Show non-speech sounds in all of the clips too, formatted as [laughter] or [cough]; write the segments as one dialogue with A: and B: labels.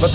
A: Wat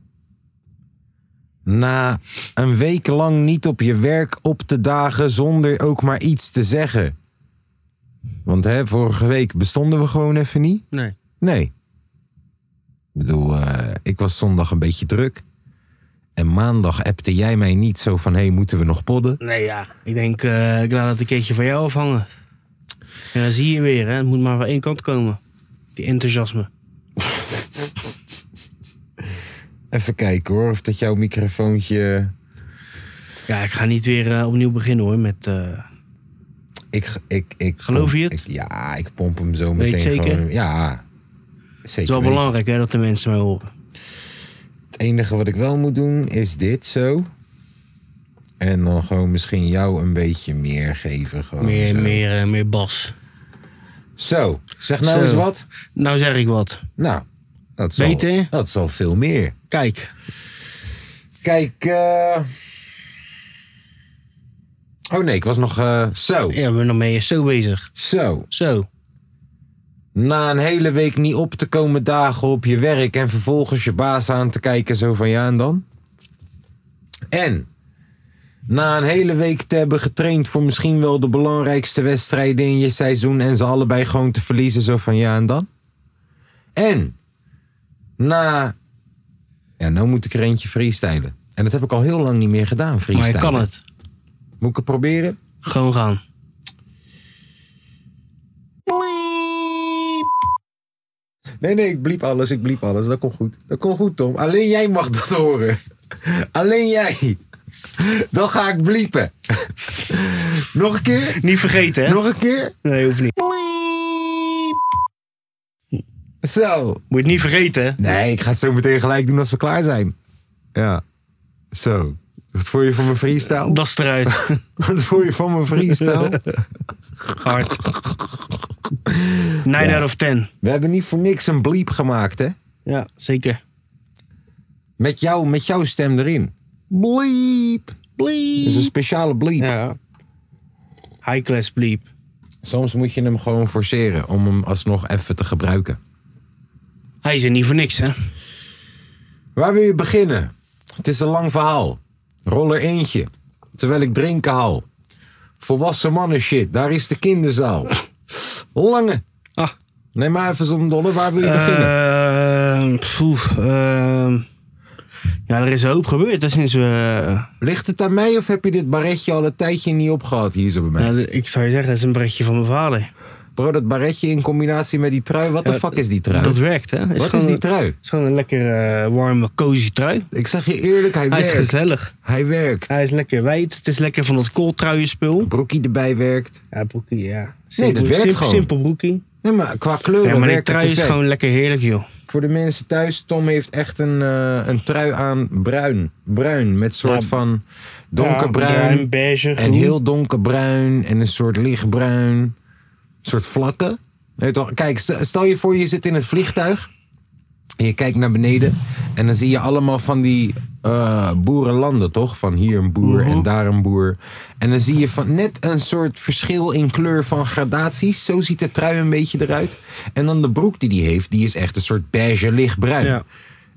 A: Na een week lang niet op je werk op te dagen zonder ook maar iets te zeggen. Want hè, vorige week bestonden we gewoon even niet.
B: Nee.
A: Nee. Ik bedoel, eh, ik was zondag een beetje druk. En maandag appte jij mij niet zo van, hé, hey, moeten we nog podden?
B: Nee, ja. Ik denk, eh, ik laat het een keertje van jou afhangen. En dan zie je weer, hè. Het moet maar van één kant komen. Die enthousiasme.
A: Even kijken hoor, of dat jouw microfoontje...
B: Ja, ik ga niet weer eh, opnieuw beginnen, hoor, met... eh,
A: Ik, ik, ik
B: Geloof
A: pomp-
B: je het?
A: ik- ja, ik pomp hem zo
B: Weet je
A: meteen
B: het zeker?
A: gewoon. Ja, zeker.
B: het is wel
A: weten.
B: belangrijk, hè, dat de mensen mij horen.
A: Het enige wat ik wel moet doen is dit zo. En dan gewoon misschien jou een beetje meer geven. Gewoon
B: Meer,
A: zo.
B: meer, eh, meer bas.
A: Zo, zeg nou
B: Zo.
A: eens wat.
B: Nou zeg ik wat.
A: Nou, dat zal,
B: Beter?
A: dat zal veel meer.
B: Kijk.
A: Kijk, eh, oh nee, ik was nog eh, zo.
B: Ja, we zijn nog mee zo bezig.
A: Zo,
B: Zo.
A: na een hele week niet op te komen dagen op je werk en vervolgens je baas aan te kijken zo van ja en dan. En na een hele week te hebben getraind voor misschien wel de belangrijkste wedstrijden in je seizoen en ze allebei gewoon te verliezen zo van ja en dan. En na ja, nou moet ik er eentje freestylen. En dat heb ik al heel lang niet meer gedaan,
B: Maar
A: freestylen.
B: je kan het.
A: Moet ik het proberen?
B: Gewoon gaan.
A: Nee, nee, ik bliep alles, ik bliep alles. Dat komt goed. Dat komt goed, Tom. Alleen jij mag dat horen. Alleen jij. Dan ga ik bliepen. Nog een keer?
B: Niet vergeten, hè?
A: Nog een keer?
B: Nee, hoeft niet.
A: Zo.
B: Moet je het niet vergeten, hè?
A: Nee, ik ga het zo meteen gelijk doen als we klaar zijn. Ja. Zo. Wat voel je van mijn freestyle?
B: Das eruit.
A: Wat voel je van mijn freestyle?
B: Hard. [laughs] 9 out of 10.
A: We hebben niet voor niks een bliep gemaakt, hè?
B: Ja, zeker.
A: Met, jou, met jouw stem erin. Bliep. Bliep. Dat is een speciale bliep.
B: Ja. High class bleep.
A: Soms moet je hem gewoon forceren om hem alsnog even te gebruiken.
B: Hij is er niet voor niks, hè?
A: Waar wil je beginnen? Het is een lang verhaal. Rol er eentje. Terwijl ik drinken haal. Volwassen mannen shit, daar is de kinderzaal. Lange.
B: Ah.
A: Neem maar even zo'n dolle, waar wil je
B: Eh.
A: beginnen?
B: Ehm, poeh, ehm. ja, er is een hoop gebeurd hè, sinds we... eh,
A: Ligt het aan mij of heb je dit baretje al een tijdje niet opgehad hier zo bij mij?
B: Nou, ik zou je zeggen, dat is een brekje van mijn vader.
A: Bro, dat baretje in combinatie met die trui, wat de
B: Ja,
A: fuck is die trui?
B: Dat werkt, hè?
A: Wat is
B: gewoon-
A: die trui?
B: Het is gewoon een lekker eh, warme, cozy trui.
A: Ik zeg je eerlijk, hij,
B: Hij is
A: werkt.
B: gezellig.
A: hij werkt.
B: Hij is lekker wijd. Het is lekker van dat kooltruienspul.
A: Broekie erbij werkt.
B: Ja, broekie, ja.
A: dat werkt
B: simpel,
A: gewoon.
B: Simpel broekie.
A: Nee, maar qua kleur
B: Ja, maar die
A: werkt het
B: trui is
A: perfect.
B: gewoon lekker heerlijk, joh.
A: Voor de mensen thuis, Tom heeft echt een, eh, een trui aan bruin. Bruin, met soort
B: Ja.
A: van donkerbruin
B: Nou, Ja, beige,
A: en
B: groen.
A: heel donkerbruin en een soort lichtbruin. Een soort vlakke. Weet toch? Kijk, st- stel je voor je zit in het vliegtuig en je kijkt naar beneden en dan zie je allemaal van die eh, boerenlanden, toch? Van hier een boer
B: Mhm.
A: en daar een boer. En dan zie je van net een soort verschil in kleur van gradaties. Zo ziet de trui een beetje eruit. En dan de broek die die heeft, die is echt een soort beige lichtbruin.
B: Ja.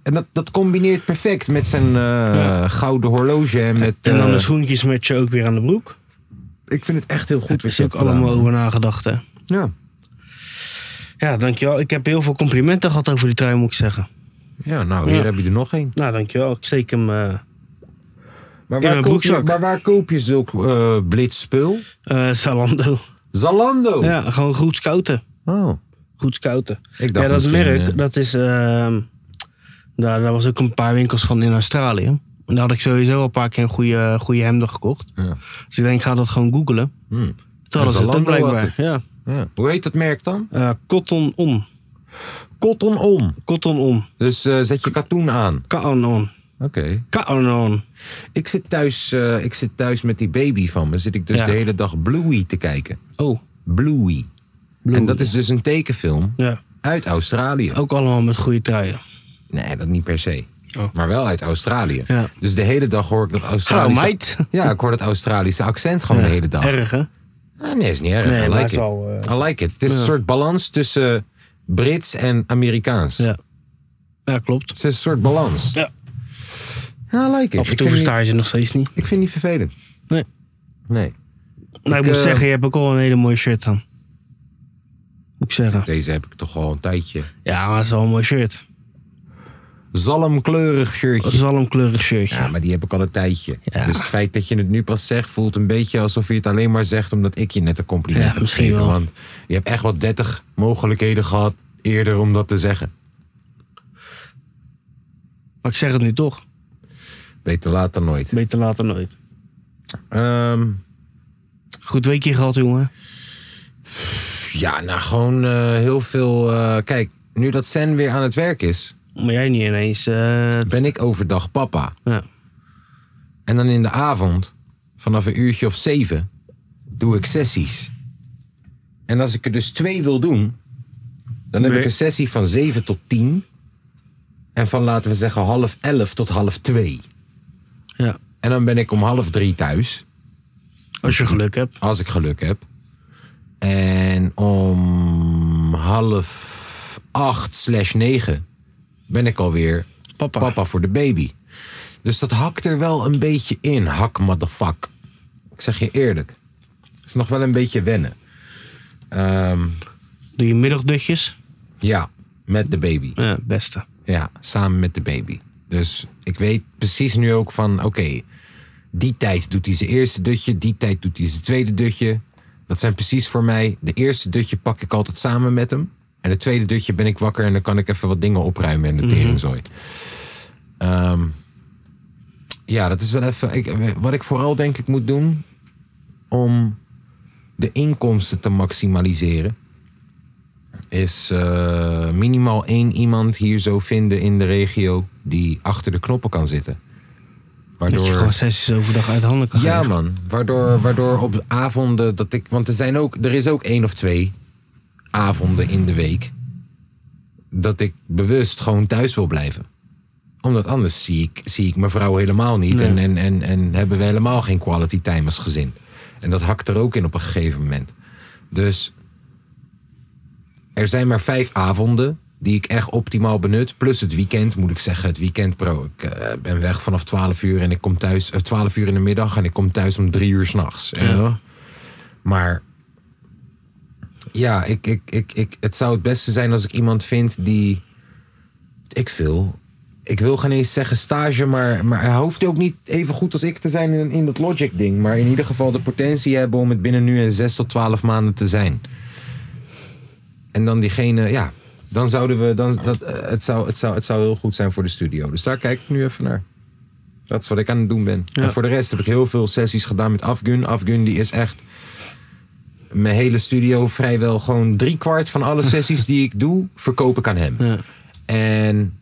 A: En dat, dat combineert perfect met zijn eh, gouden horloge en met...
B: En dan
A: eh,
B: de schoentjes met je ook weer aan de broek.
A: ik vind het echt heel goed
B: Daar
A: wat
B: is
A: je
B: ook
A: hebt gedaan.
B: allemaal over nagedacht, hè.
A: Ja.
B: Ja, dankjewel. Ik heb heel veel complimenten gehad over die trui, moet ik zeggen.
A: ja, nou, hier
B: Ja.
A: heb je er nog één.
B: Nou, dankjewel. Ik steek hem... eh
A: Maar
B: In
A: waar,
B: mijn
A: koop je,
B: broekzak.
A: maar waar koop je zulk eh blitzspul?
B: eh Zalando.
A: Zalando!
B: Ja, gewoon goed scouten.
A: Oh.
B: Goed scouten.
A: Ik dacht
B: Ja, dat
A: misschien,
B: merk,
A: eh,
B: dat is... ehm, daar, daar was ook een paar winkels van in Australië. En daar had ik sowieso al een paar keer een goede, goede hemden gekocht.
A: Ja.
B: Dus ik denk, ik ga dat gewoon googelen.
A: Hmm.
B: Toen hadden ze het ook
A: Zalando had
B: blijkbaar. Ja.
A: Ja. Hoe heet dat merk dan?
B: Eh, cotton on.
A: Cotton On.
B: Cotton on.
A: Dus eh, zet je katoen aan.
B: Kaan on.
A: Oké. Oké.
B: Kanon.
A: Ik, zit thuis, eh, ik zit thuis met die baby van me. Zit ik dus
B: Ja.
A: de hele dag Bluey te kijken.
B: Oh,
A: Bluey. En dat is dus een tekenfilm
B: ja.
A: uit Australië.
B: Ook allemaal met goede truien.
A: Nee, dat niet per se.
B: Oh.
A: Maar wel uit Australië.
B: Ja.
A: Dus de hele dag hoor ik dat
B: Hallo
A: Australische...
B: meid.
A: Ja, ik hoor dat Australische accent gewoon
B: Ja,
A: Oh, de hele dag.
B: Erg hè?
A: Ah, nee, is niet erg.
B: Nee,
A: I
B: maar het
A: like
B: is
A: it.
B: wel, eh,
A: I like it. Het is een
B: ja.
A: soort balans tussen Brits en Amerikaans.
B: Ja. Ja, klopt.
A: Het is een soort balans.
B: Ja.
A: Ja, I like it.
B: Af en toe
A: Ik vind, het
B: versta je ze nog steeds niet.
A: niet, ik vind het niet vervelend.
B: Nee.
A: Nee.
B: Nou, ik,
A: Ik,
B: moet
A: eh,
B: zeggen, je hebt ook al een hele mooie shirt aan. Moet ik zeggen.
A: Deze heb ik toch al een tijdje.
B: Ja, maar het is wel een mooi shirt.
A: Zalmkleurig
B: Het
A: shirtje.
B: is wel een kleurig shirtje.
A: Ja, maar die heb ik al een tijdje.
B: Ja.
A: Dus het feit dat je het nu pas zegt, voelt een beetje alsof je het alleen maar zegt omdat ik je net een compliment
B: Ja,
A: heb
B: misschien
A: gegeven.
B: wel.
A: Want je hebt echt wel 30 mogelijkheden gehad eerder om dat te zeggen.
B: Maar ik zeg het nu toch.
A: Beter laat dan nooit.
B: Beter later nooit.
A: Ehm,
B: Goed weekje gehad, jongen.
A: pff, ja, nou gewoon eh, heel veel. eh, kijk, nu dat Sen weer aan het werk is,
B: Maar jij niet ineens. eh,
A: ben ik overdag papa.
B: ja.
A: En dan in de avond, vanaf een uurtje of zeven, doe ik sessies. En als ik er dus twee wil doen, dan heb
B: Nee.
A: ik een sessie van zeven tot tien. En van laten we zeggen half elf tot half twee.
B: ja.
A: En dan ben ik om half drie thuis,
B: Als je geluk hebt.
A: als ik geluk heb. En om half acht slash negen ben ik alweer
B: Papa.
A: papa voor de baby. Dus dat hakt er wel een beetje in, hak motherfuck. Ik zeg je eerlijk. Het is nog wel een beetje wennen. Ehm,
B: Doe je middagdutjes.
A: ja, met de baby.
B: Ja, het beste.
A: Ja, samen met de baby. Dus ik weet precies nu ook van, oké, die tijd doet hij zijn eerste dutje, die tijd doet hij zijn tweede dutje. Dat zijn precies voor mij, de eerste dutje pak ik altijd samen met hem. En de tweede dutje ben ik wakker en dan kan ik even wat dingen opruimen in de teringzooi. Ehm, ja, dat is wel even, ik, wat ik vooral denk ik moet doen om de inkomsten te maximaliseren is eh, minimaal één iemand hier zo vinden in de regio die achter de knoppen kan zitten.
B: Dat je
A: Waardoor.
B: gewoon sessies overdag uit handen kan
A: Ja,
B: geven.
A: man. Waardoor, waardoor op avonden dat ik. Want er, zijn ook, er is ook één of twee avonden in de week. dat ik bewust gewoon thuis wil blijven. Omdat anders zie ik, zie ik mijn vrouw helemaal niet.
B: Nee.
A: En, en, en, en hebben we helemaal geen quality time als gezin. En dat hakt er ook in op een gegeven moment. Dus er zijn maar vijf avonden die ik echt optimaal benut. Plus het weekend, moet ik zeggen. Het weekend, bro. Ik eh, ben weg vanaf 12 uur en ik kom thuis. eh, 12 uur in de middag en ik kom thuis om drie uur s'nachts. Ja. Maar ja, ik, ik, ik, ik, het zou het beste zijn als ik iemand vind die. Ik wil. Ik wil geen eens zeggen stage, maar, maar hij hoeft ook niet even goed als ik te zijn in, in dat Logic-ding. Maar in ieder geval de potentie hebben om het binnen nu en 6 tot 12 maanden te zijn. En dan diegene, ja, dan zouden we. Dan, dat, eh, het, zou, het, zou, het zou heel goed zijn voor de studio. Dus daar kijk ik nu even naar. Dat is wat ik aan het doen ben.
B: Ja.
A: En voor de rest heb ik heel veel sessies gedaan met Afgun. Afgun die is echt mijn hele studio vrijwel gewoon driekwart van alle sessies die ik doe, verkoop ik aan hem.
B: Ja.
A: En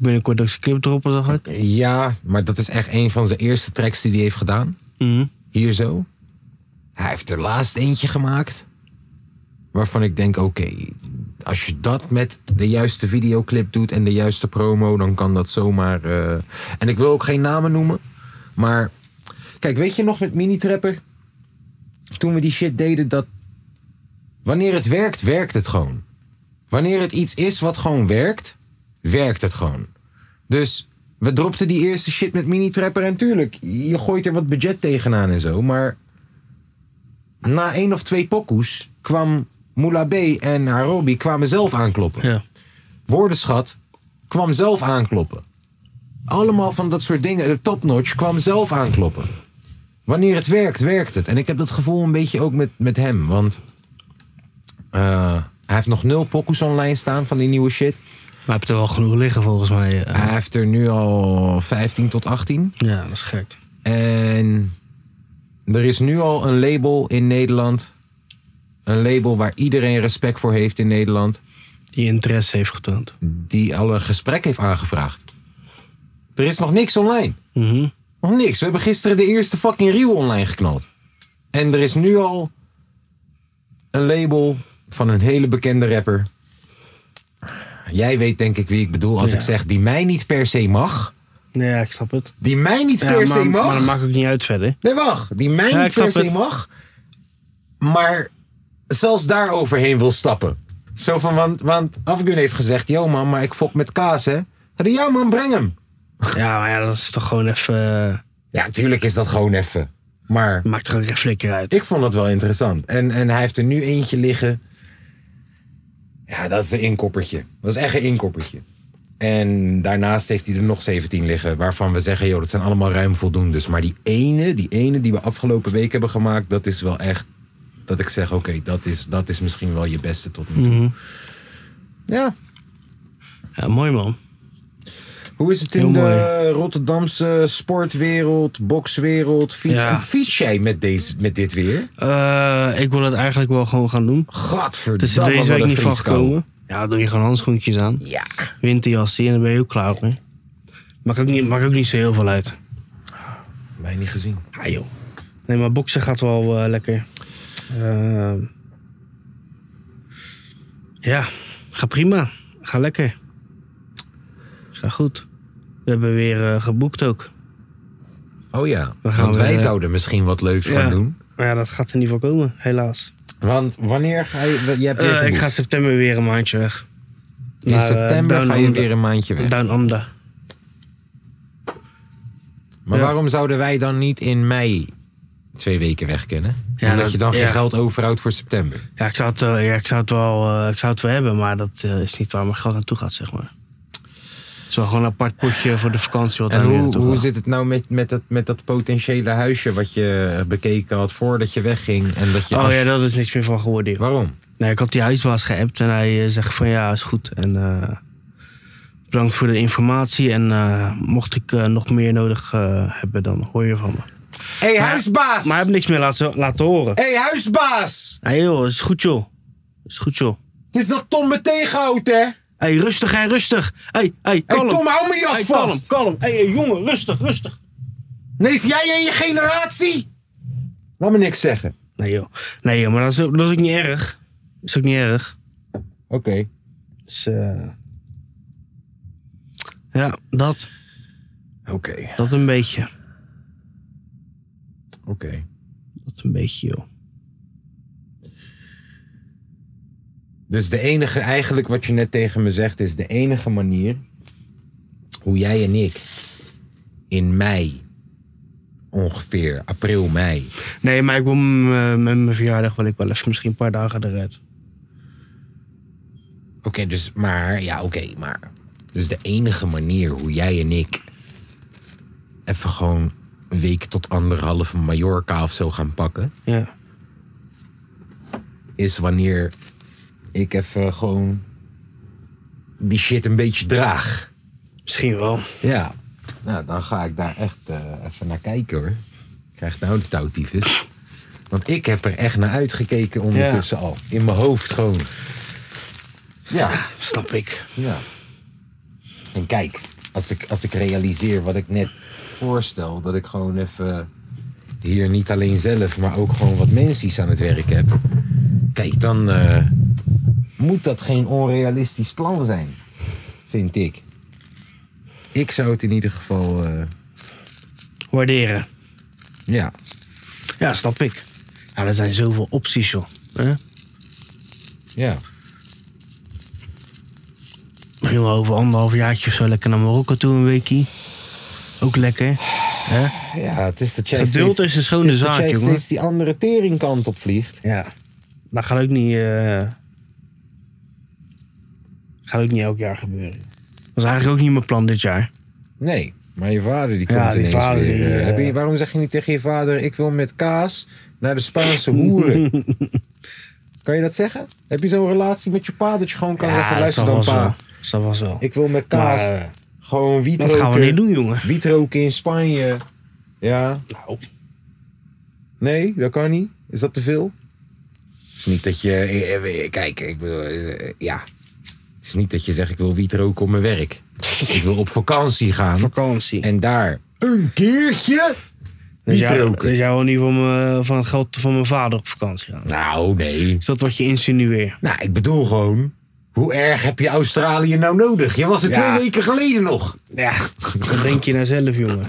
B: Binnenkort ook zijn clip droppen, zag ik.
A: ja, maar dat is echt een van zijn eerste tracks die hij heeft gedaan.
B: Mhm.
A: Hier zo. Hij heeft er laatst eentje gemaakt. Waarvan ik denk, oké, als je dat met de juiste videoclip doet en de juiste promo, dan kan dat zomaar. eh, En ik wil ook geen namen noemen. Maar kijk, weet je nog met Minitrapper? Toen we die shit deden, dat. Wanneer het werkt, werkt het gewoon. Wanneer het iets is wat gewoon werkt, werkt het gewoon. Dus we dropten die eerste shit met Minitrapper en tuurlijk, je gooit er wat budget tegenaan en zo. Maar na één of twee pokoes kwam Moula B en Harobi kwamen zelf aankloppen.
B: Ja.
A: Woordenschat kwam zelf aankloppen. Allemaal van dat soort dingen. De topnotch kwam zelf aankloppen. Wanneer het werkt, werkt het. En ik heb dat gevoel een beetje ook met, met hem. Want eh, hij heeft nog nul pokoes online staan van die nieuwe shit.
B: Maar je hebt er wel genoeg liggen volgens mij. eh.
A: Hij heeft er nu al 15 tot 18.
B: Ja, dat is gek.
A: En er is nu al een label in Nederland. Een label waar iedereen respect voor heeft in Nederland.
B: Die interesse heeft getoond.
A: Die al een gesprek heeft aangevraagd. Er is nog niks online.
B: Mhm.
A: Nog niks. We hebben gisteren de eerste fucking reel online geknald. En er is nu al een label van een hele bekende rapper. Jij weet denk ik wie ik bedoel als
B: Ja.
A: ik zeg die mij niet per se mag.
B: Ja, ik snap het.
A: Die mij niet
B: Ja,
A: per
B: maar,
A: se mag.
B: maar dat maakt ook niet uit verder.
A: Nee, wacht. Die mij
B: Ja, ik
A: niet
B: snap
A: per se
B: het.
A: mag. Maar zelfs daar overheen wil stappen. Zo van, want, want Afgun heeft gezegd... Yo man, maar ik fok met kaas hè. Hij zei, ja man, breng hem.
B: Ja, maar ja, dat is toch gewoon even... eh,
A: Ja, tuurlijk is dat gewoon even. Maar
B: maakt er gewoon geen flikker uit.
A: ik vond dat wel interessant. En, en hij heeft er nu eentje liggen. Ja, dat is een inkoppertje. Dat is echt een inkoppertje. En daarnaast heeft hij er nog 17 liggen. Waarvan we zeggen, joh, dat zijn allemaal ruim voldoendes. Maar die ene, die ene die we afgelopen week hebben gemaakt... dat is wel echt... dat ik zeg, oké, dat, is, dat is misschien wel je beste tot nu toe.
B: Mhm.
A: Ja,
B: Ja, mooi man.
A: hoe is het in
B: Heel
A: de
B: mooi.
A: Rotterdamse sportwereld, bokswereld, fiets?
B: Ja.
A: Hoe fiets jij met, deze, met dit weer?
B: Eh, ik wil het eigenlijk wel gewoon gaan doen. Het is er
A: Gadverdamme,
B: deze
A: wat
B: week
A: een
B: niet van
A: vrieskou.
B: gekomen. Ja, doe je gewoon handschoentjes aan.
A: Ja.
B: Winterjasje en dan ben je ook klaar mee. Maakt ook niet, maakt ook niet zo heel veel uit.
A: Mij niet gezien.
B: Ah joh. Nee, maar boksen gaat wel eh, lekker. Ehm, ja, ga prima. Ga lekker. Ga goed. We hebben weer eh, geboekt ook.
A: Oh ja,
B: We gaan
A: want wij
B: weer-
A: zouden misschien wat leuks gaan doen.
B: Maar ja, dat gaat er niet voor komen, helaas.
A: Want wanneer ga je... je hebt weer
B: Eh, ik
A: geboekt.
B: ga september weer een maandje weg.
A: In
B: naar, eh,
A: september
B: Down
A: ga je
B: Under.
A: weer een maandje weg.
B: Down Under.
A: Maar
B: ja.
A: waarom zouden wij dan niet in mei twee weken weg kunnen?
B: Ja,
A: Omdat
B: dat-
A: je dan geen
B: ja.
A: geld overhoudt voor september.
B: Ja, ik zou het, eh, ja, ik zou het wel, eh, ik zou het wel hebben, maar dat eh, is niet waar mijn geld naartoe gaat, zeg maar. Het is wel gewoon een apart potje voor de vakantie. Wat
A: En
B: daar weer
A: hoe,
B: naartoe
A: hoe
B: gaat.
A: zit het nou met, met, dat, met dat potentiële huisje wat je bekeken had voordat je wegging? En dat je
B: Oh
A: als-
B: ja, daar is niks meer van geworden. joh.
A: Waarom?
B: Nee, ik had die huisbaas geappt en hij eh, zegt van ja, is goed. En eh, bedankt voor de informatie. En eh, mocht ik eh, nog meer nodig eh, hebben, dan hoor je van me.
A: Hé, hey,
B: Maar-
A: huisbaas!
B: Maar hij heeft niks meer laten, laten horen.
A: Hé, hey, huisbaas!
B: Hé joh, is goed joh. Is goed joh.
A: Het is dat Tom me tegenhoudt, hè? Hé,
B: Hé, hey, rustig hé, rustig. Hé, hey, hey, kalm.
A: Tom, hou mijn jas
B: Hey,
A: vast!
B: kalm, kalm. Hé hey, jongen, rustig, rustig.
A: Neef, jij en je generatie? Laat me niks zeggen.
B: Nee joh, nee, joh maar dat is, ook- dat is ook niet erg. Dat is ook niet erg.
A: Oké.
B: Dus, eh, Ja, dat.
A: Oké.
B: Dat een beetje.
A: Oké.
B: Dat een beetje joh.
A: Dus de enige, eigenlijk wat je net tegen me zegt, is de enige manier hoe jij en ik in mei, ongeveer april, mei.
B: Nee, maar ik wil m- eh, met mijn verjaardag wil ik wel even misschien een paar dagen eruit.
A: Oké, dus maar, ja, oké, maar. Dus de enige manier hoe jij en ik even gewoon een week tot anderhalve Mallorca of zo gaan pakken,
B: Ja.
A: is wanneer ik even gewoon die shit een beetje draag.
B: Misschien wel.
A: Ja, nou, dan ga ik daar echt eh, even naar kijken hoor. Ik krijg nou de touwtyfus. Want ik heb er echt naar uitgekeken ondertussen al. In mijn hoofd gewoon. Ja,
B: Snap ik.
A: ja. En kijk, als ik, als ik realiseer wat ik net voorstel, dat ik gewoon even hier niet alleen zelf, maar ook gewoon wat mensen aan het werk heb. Kijk, dan eh, moet dat geen onrealistisch plan zijn, vind ik. Ik zou het in ieder geval, eh,
B: Waarderen.
A: ja.
B: Ja, snap ik. Ja, er zijn zoveel opties joh. Hè?
A: Ja.
B: Misschien wel over anderhalf jaartje of zo lekker naar Marokko toe een weekje. Ook lekker. Hè?
A: ja, het is de
B: Geduld is een schone
A: het is dat
B: zaak,
A: jij
B: jongen.
A: steeds die andere teringkant op vliegt.
B: Ja. Dat gaat ook niet. eh, gaat ook niet elk jaar gebeuren. Dat was eigenlijk ook niet mijn plan dit jaar.
A: Nee, maar je vader die komt
B: Ja, die
A: ineens
B: vader,
A: weer.
B: die,
A: eh,
B: eh,
A: heb je, waarom zeg je niet tegen je vader, ik wil met kaas naar de Spaanse
B: [laughs]
A: hoeren? kan je dat zeggen? Heb je zo'n relatie met je pa dat je gewoon kan zeggen, luister dan
B: dat was
A: pa,
B: wel. Dat was wel.
A: ik eh, wil met kaas
B: Maar, eh,
A: gewoon wiet
B: dat
A: roken.
B: gaan we niet doen, jongen.
A: Wiet roken in Spanje. Ja,
B: Nou,
A: nee, dat kan niet. Is dat te veel? Het is niet dat je, eh, eh, kijk, ik wil, eh, ja. Het is niet dat je zegt, ik wil wiet roken op mijn werk. Ik wil op vakantie gaan.
B: [laughs] Vakantie.
A: En daar een keertje
B: dus
A: niet
B: jij,
A: roken.
B: Dus jij wil niet van, mijn- van het geld van mijn vader op vakantie gaan.
A: Nou, nee.
B: Is dat wat je insinueert?
A: Nou, ik bedoel gewoon... Hoe erg heb je Australië nou nodig? Je was er
B: Ja.
A: twee weken geleden nog.
B: Ja. Wat denk je nou zelf, jongen?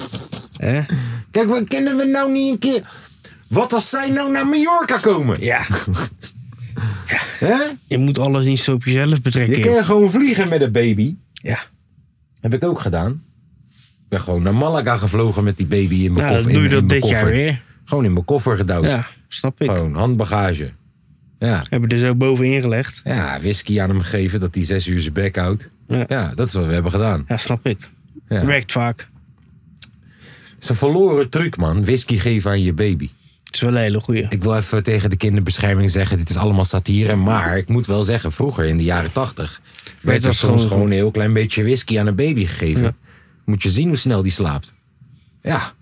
B: Hè?
A: Kijk, wat kennen we nou niet een keer... Wat als zij nou naar Mallorca komen?
B: Ja.
A: Hè?
B: Je moet alles niet zo op jezelf betrekken.
A: Je kan gewoon vliegen met een baby.
B: Ja.
A: Heb ik ook gedaan. Ik ben gewoon naar Malaga gevlogen met die baby in mijn
B: Nou,
A: koffer.
B: dan doe je
A: in- in
B: dat
A: mijn
B: dit jaar
A: koffer. Oh.
B: weer.
A: Gewoon in mijn koffer gedouwd.
B: Ja, snap ik.
A: Gewoon handbagage. Ja.
B: Hebben er zo bovenin gelegd.
A: ja, whisky aan hem gegeven dat hij zes uur zijn bek houdt.
B: Ja.
A: Ja. dat is wat we hebben gedaan.
B: Ja, snap ik.
A: Ja.
B: Werkt vaak.
A: Het is een verloren truc, man. Whisky geven aan je baby.
B: Het is wel een hele goeie.
A: Ik wil even tegen de kinderbescherming zeggen, dit is allemaal satire. Maar ik moet wel zeggen, vroeger in de jaren tachtig... werd er
B: dat
A: soms
B: gewoon-
A: gewoon een heel klein beetje whisky aan een baby gegeven.
B: Ja.
A: Moet je zien hoe snel die slaapt. Ja,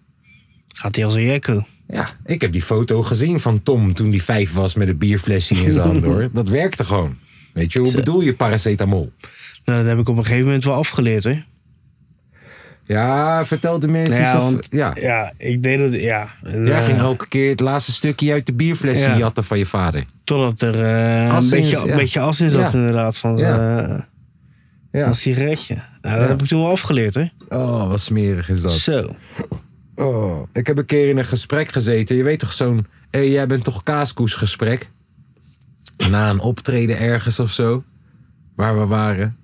B: Gaat hij als een jekko.
A: Ja, ik heb die foto gezien van Tom toen hij vijf was met een bierflesje in zijn hand
B: [laughs]
A: hoor. Dat werkte gewoon. Weet je, hoe bedoel je paracetamol?
B: Nou, dat heb ik op een gegeven moment wel afgeleerd, hè.
A: Ja, vertel de mensen.
B: Nou ja,
A: zelf-
B: want-
A: ja.
B: ja, ik deed dat, ja. En,
A: Jij
B: eh,
A: ging elke keer het laatste stukje uit de bierflesje
B: Ja.
A: jatten van je vader.
B: Totdat er eh,
A: As
B: een,
A: in
B: beetje,
A: is-
B: een
A: ja.
B: beetje as in zat,
A: Ja.
B: inderdaad. Van
A: Ja.
B: eh,
A: Ja.
B: een sigaretje. Nou, dat heb ik toen wel afgeleerd, hè.
A: Oh, wat smerig is dat.
B: Zo.
A: Oh, ik heb een keer in een gesprek gezeten. Je weet toch zo'n... Hé, jij bent toch kaaskoesgesprek? Na een optreden ergens of zo. Waar we waren.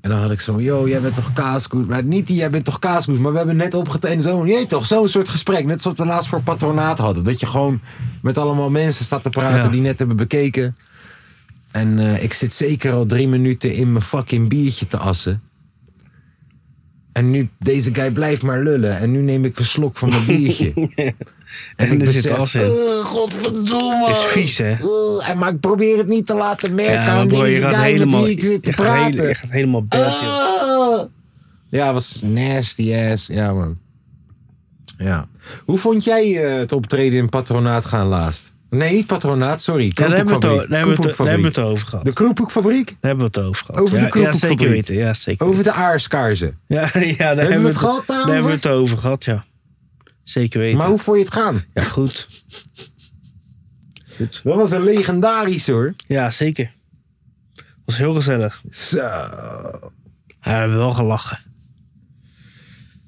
A: En dan had ik zo'n... Yo, jij bent toch kaaskoes? Maar niet die, jij bent toch kaaskoes? Maar we hebben net opgetreden. Zo'n, je weet toch, zo'n soort gesprek. Net zoals we laatst voor patronaat hadden. Dat je gewoon met allemaal mensen staat te praten
B: Ja.
A: die net hebben bekeken. En eh, ik zit zeker al drie minuten in mijn fucking biertje te assen. En nu, deze guy blijft maar lullen. En nu neem ik een slok van mijn biertje. en
B: er
A: ik
B: zit as
A: besef,
B: in.
A: "Ugh, godverdomme.
B: Is vies, hè?
A: Ugh, en maar ik probeer het niet te laten merken
B: Ja,
A: aan
B: bro, je
A: deze
B: gaat
A: guy
B: helemaal...
A: met wie ik
B: Je
A: zit te
B: gaat,
A: praten.
B: hele, je gaat helemaal bad, joh.
A: Ah. Ja, was nasty ass. Ja, man. Ja. Hoe vond jij eh, het optreden in Patronaat gaan laatst? Nee, niet Patronaat, sorry.
B: Ja, daar hebben we het
A: Kroephoekfabriek.
B: o- daar hebben we het- daar hebben we het
A: Kroephoekfabriek.
B: over gehad.
A: De Kroephoekfabriek?
B: Daar hebben we het over gehad.
A: Over de
B: ja, ja, zeker
A: kroepelfabriek.
B: weten. Ja, zeker
A: Over de aarskaarsen.
B: weten. Ja, [laughs] ja, daar hebben
A: we het
B: daar
A: gehad daarover?
B: hebben we het over gehad, ja. Zeker weten.
A: Maar hoe vond je het gaan?
B: Ja, goed.
A: Dat was een legendarisch hoor.
B: Ja, zeker. was heel gezellig.
A: Zo.
B: Ja, we hebben wel gelachen.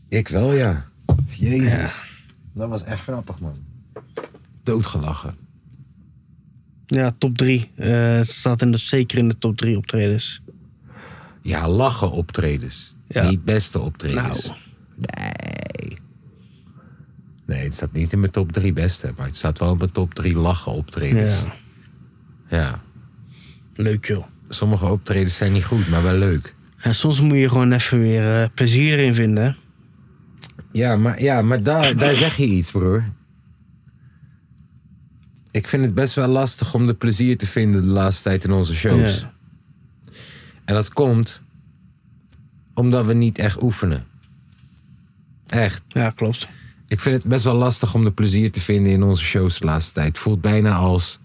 A: Ik wel, ja. Jezus. Dat was echt grappig, man. Doodgelachen.
B: Ja, top 3. het staat in de, zeker in de top 3 optredens.
A: Ja, lachen optredens.
B: Ja.
A: Niet beste optredens.
B: Nou.
A: Nee. Nee, het staat niet in mijn top drie beste. Maar het staat wel in mijn top drie lachen optredens.
B: Ja,
A: ja.
B: leuk joh.
A: Sommige optredens zijn niet goed, maar wel leuk.
B: En soms moet je gewoon even weer eh, plezier erin vinden. hè.
A: Ja, maar, ja, maar daar, daar zeg je iets, broer. Ik vind het best wel lastig om de plezier te vinden de laatste tijd in onze shows.
B: Ja.
A: En dat komt omdat we niet echt oefenen. Echt.
B: Ja, klopt.
A: Ik vind het best wel lastig om de plezier te vinden in onze shows de laatste tijd. Het voelt bijna als,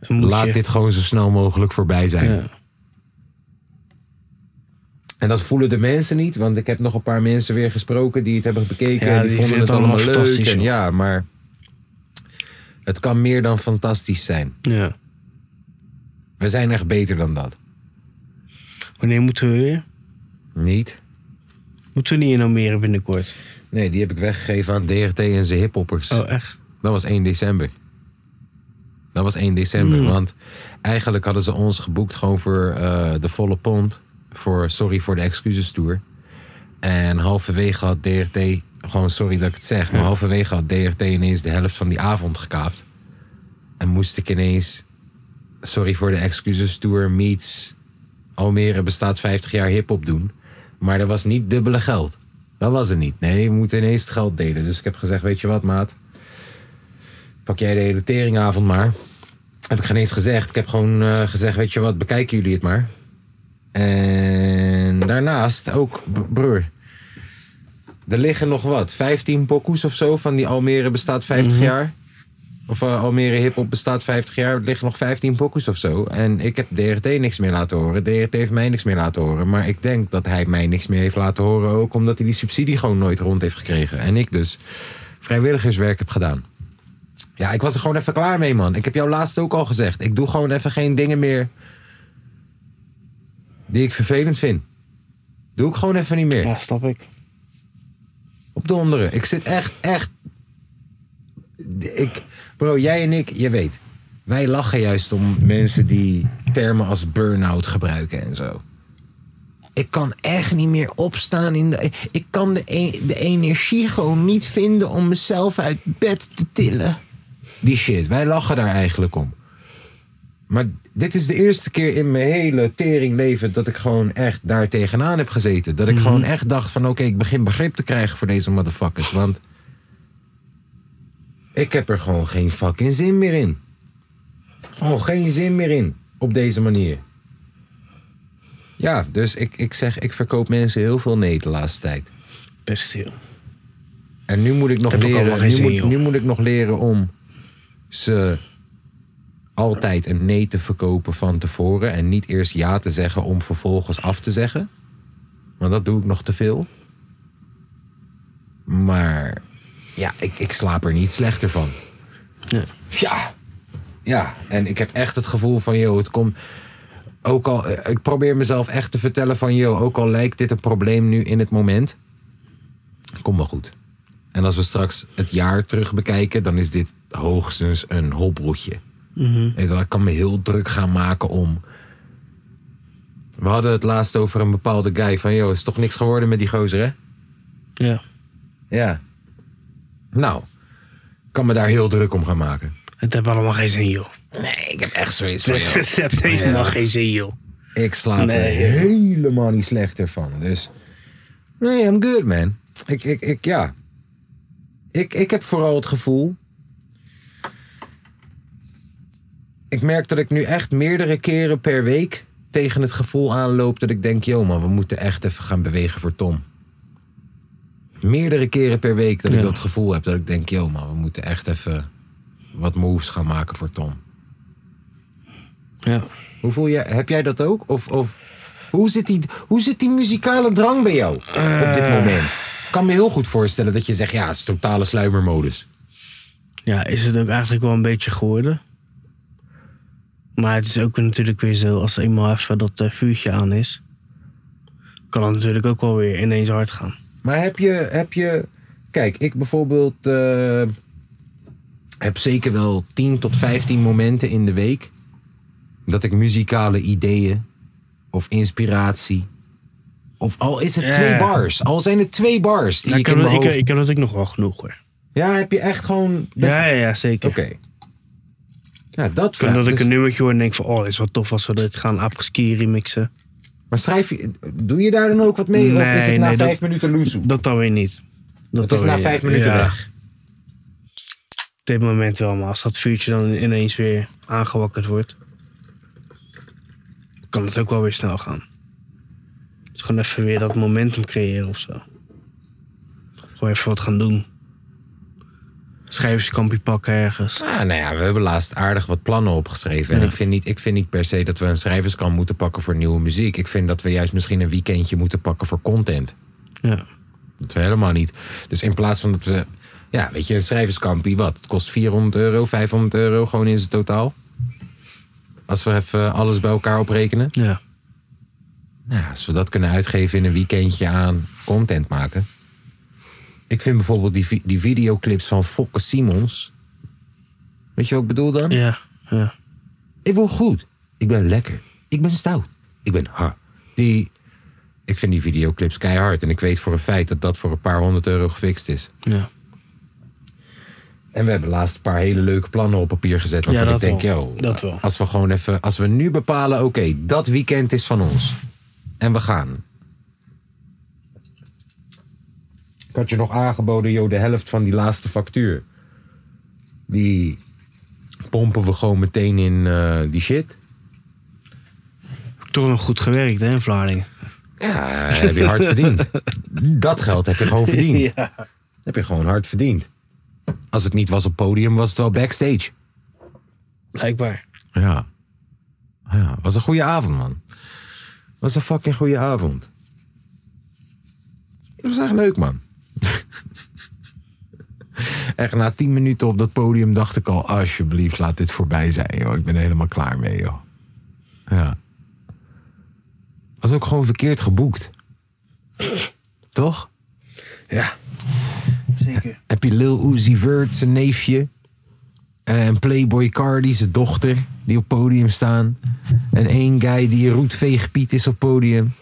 B: Een moedje.
A: laat dit gewoon zo snel mogelijk voorbij zijn.
B: Ja.
A: En dat voelen de mensen niet, want ik heb nog een paar mensen weer gesproken die het hebben bekeken.
B: Ja,
A: en die,
B: die
A: vonden
B: vinden
A: het
B: het
A: allemaal,
B: allemaal
A: leuk.
B: fantastisch,
A: en
B: joh.
A: ja, maar het kan meer dan fantastisch zijn.
B: ja.
A: We zijn echt beter dan dat.
B: Wanneer moeten we weer?
A: Niet?
B: Moeten we niet in Almere binnenkort?
A: Nee, die heb ik weggegeven aan DRT en zijn hiphoppers.
B: Oh, echt?
A: Dat was 1 december. Dat was 1 december, want eigenlijk hadden ze ons geboekt gewoon voor eh, de volle pond. Voor Sorry voor de Excuses Tour. En halverwege had DRT, gewoon sorry dat ik het zeg, maar halverwege had DRT ineens de helft van die avond gekaapt. En moest ik ineens Sorry voor de Excuses Tour meets Almere bestaat 50 jaar hip-hop doen. Maar dat was niet dubbele geld. Dat was het niet. Nee, we moeten ineens het geld delen. Dus ik heb gezegd: Weet je wat, maat? Pak jij de hele teringavond maar. Heb ik geen eens gezegd. Ik heb gewoon eh, gezegd: Weet je wat, bekijken jullie het maar. En daarnaast ook, b- broer. Er liggen nog wat, 15 pokoes of zo van die Almere bestaat 50 jaar. Of eh, Almere hiphop bestaat 50 jaar, er liggen nog 15 pokus of zo. En ik heb DRT niks meer laten horen. DRT heeft mij niks meer laten horen. Maar ik denk dat hij mij niks meer heeft laten horen. Ook omdat hij die subsidie gewoon nooit rond heeft gekregen. En ik dus vrijwilligerswerk heb gedaan. Ja, ik was er gewoon even klaar mee, man. Ik heb jou laatst ook al gezegd. Ik doe gewoon even geen dingen meer die ik vervelend vind. Doe ik gewoon even niet meer
B: Ja, snap ik.
A: op donderen. Ik zit echt, echt. Ik, bro, jij en ik, je weet. Wij lachen juist om mensen die termen als burn-out gebruiken en zo. Ik kan echt niet meer opstaan. In de, ik kan de, e- de energie gewoon niet vinden om mezelf uit bed te tillen. Die shit, wij lachen daar eigenlijk om. Maar dit is de eerste keer in mijn hele teringleven dat ik gewoon echt daar tegenaan heb gezeten. Dat ik gewoon echt dacht van oké, ik begin begrip te krijgen voor deze motherfuckers. Want ik heb er gewoon geen fucking zin meer in. Gewoon geen zin meer in op deze manier. Ja, dus ik, ik zeg, ik verkoop mensen heel veel nee de laatste tijd.
B: Best heel.
A: En nu moet ik nog
B: heb ook allemaal
A: leren.
B: geen
A: Nu
B: zin,
A: moet,
B: joh.
A: nu moet ik nog leren om ze altijd een nee te verkopen van tevoren. En niet eerst ja te zeggen om vervolgens af te zeggen. Want dat doe ik nog te veel. Maar ja, ik, ik slaap er niet slechter van.
B: Ja.
A: Ja. Ja, en ik heb echt het gevoel van, joh, het komt... Ook al, eh, ik probeer mezelf echt te vertellen van, joh, ook al lijkt dit een probleem nu in het moment. Kom wel goed. En als we straks het jaar terug bekijken, dan is dit hoogstens een hobbeltje. Weet je wel, Ik kan me heel druk gaan maken om... We hadden het laatst over een bepaalde guy van, joh, is toch niks geworden met die gozer, hè?
B: Ja.
A: Ja. Nou, ik kan me daar heel druk om gaan maken.
B: Het heeft allemaal geen zin, joh.
A: Nee, ik heb echt zoiets van, joh.
B: [laughs] Het heeft helemaal geen zin, joh.
A: Ik slaap
B: Nee.
A: er helemaal niet slechter van. Dus nee, I'm good man. Ik, ik, ik ja. Ik, ik heb vooral het gevoel. Ik merk dat ik nu echt meerdere keren per week tegen het gevoel aanloop dat ik denk, joh man, we moeten echt even gaan bewegen voor Tom. Meerdere keren per week dat ik
B: Ja.
A: dat gevoel heb dat ik denk, joh man, we moeten echt even wat moves gaan maken voor Tom.
B: Ja.
A: Hoe voel je, heb jij dat ook? Of, of hoe, zit die, hoe zit die muzikale drang bij jou op
B: Eh.
A: dit moment? Ik kan me heel goed voorstellen dat je zegt, ja, het is totale sluimermodus.
B: ja, is het ook eigenlijk wel een beetje geworden. Maar het is ook natuurlijk weer zo, als er eenmaal even dat eh, vuurtje aan is, kan het natuurlijk ook wel weer ineens hard gaan.
A: Maar heb je, heb je kijk, ik bijvoorbeeld eh, heb zeker wel 10 tot 15 momenten in de week dat ik muzikale ideeën of inspiratie, of al is het
B: Ja.
A: twee bars, al zijn het twee bars die
B: Ja,
A: ik
B: Nou, ik,
A: in
B: heb, dat-
A: mijn
B: ik,
A: hoofd...
B: ik heb dat ook nog wel genoeg hoor.
A: Ja, heb je echt gewoon...
B: Ja, ja, ja zeker.
A: Oké. Ja, dat
B: Kan
A: vraag-
B: dat ik
A: dus-
B: een nummertje hoor en denk van, oh, dit is wel tof als we dit gaan apres-ski remixen.
A: Maar schrijf je, doe je daar dan ook wat mee? of is het
B: Nee,
A: na
B: nee, dat-
A: vijf minuten loezoe?
B: Dat dan weer niet. Dat
A: Het
B: dan
A: is
B: weer
A: na
B: niet.
A: vijf minuten
B: Ja,
A: weg.
B: Op dit moment wel, maar als dat vuurtje dan ineens weer aangewakkerd wordt, kan het ook wel weer snel gaan. Dus gewoon even weer dat momentum creëren of zo. Gewoon even wat gaan doen. Schrijverskampje pakken ergens.
A: Ah, nou ja, we hebben laatst aardig wat plannen opgeschreven. En ik, vind niet, ik vind niet per se dat we een schrijverskamp moeten pakken voor nieuwe muziek. Ik vind dat we juist misschien een weekendje moeten pakken voor content.
B: Ja.
A: Dat we helemaal niet. Dus in plaats van dat we... Ja, weet je, een schrijverskampie, wat? Het kost 400 euro, 500 euro gewoon in zijn totaal. Als we even alles bij elkaar oprekenen.
B: ja.
A: Nou, ja, als we dat kunnen uitgeven in een weekendje aan content maken. Ik vind bijvoorbeeld die, vi- die videoclips van Fokke Simons. Weet je wat ik bedoel dan?
B: Ja. Ja.
A: Ik wil goed. Ik ben lekker. Ik ben stout. Ik ben ha. Die, ik vind die videoclips keihard. En ik weet voor een feit dat dat voor een paar honderd euro gefixt is.
B: Ja.
A: En we hebben laatst een paar hele leuke plannen op papier gezet. Waarvan
B: Ja,
A: ik
B: dat
A: denk,
B: wel.
A: joh,
B: Dat wel.
A: als we gewoon even, als we nu bepalen, oké, dat weekend is van ons. En we gaan. Ik had je nog aangeboden, joh, de helft van die laatste factuur. Die pompen we gewoon meteen in eh, die shit.
B: Toch nog goed gewerkt, hè, in Vlaardingen.
A: Ja, heb je
B: [laughs]
A: hard verdiend. Dat geld heb je gewoon verdiend.
B: Ja.
A: Heb je gewoon hard verdiend. Als het niet was op podium, was het wel backstage.
B: Blijkbaar.
A: Ja. Ja, was een goede avond, man. Was een fucking goede avond. Dat was echt leuk, man. [laughs] Echt na tien minuten op dat podium dacht ik al... alsjeblieft, laat dit voorbij zijn, joh. Ik ben er helemaal klaar mee, joh. Ja. Was ook gewoon verkeerd geboekt. Toch?
B: Ja. Zeker.
A: heb je Lil Uzi Vert, zijn neefje. eh, En Playboy Cardi, zijn dochter, die op podium staan. En één guy die roetveegpiet is op podium.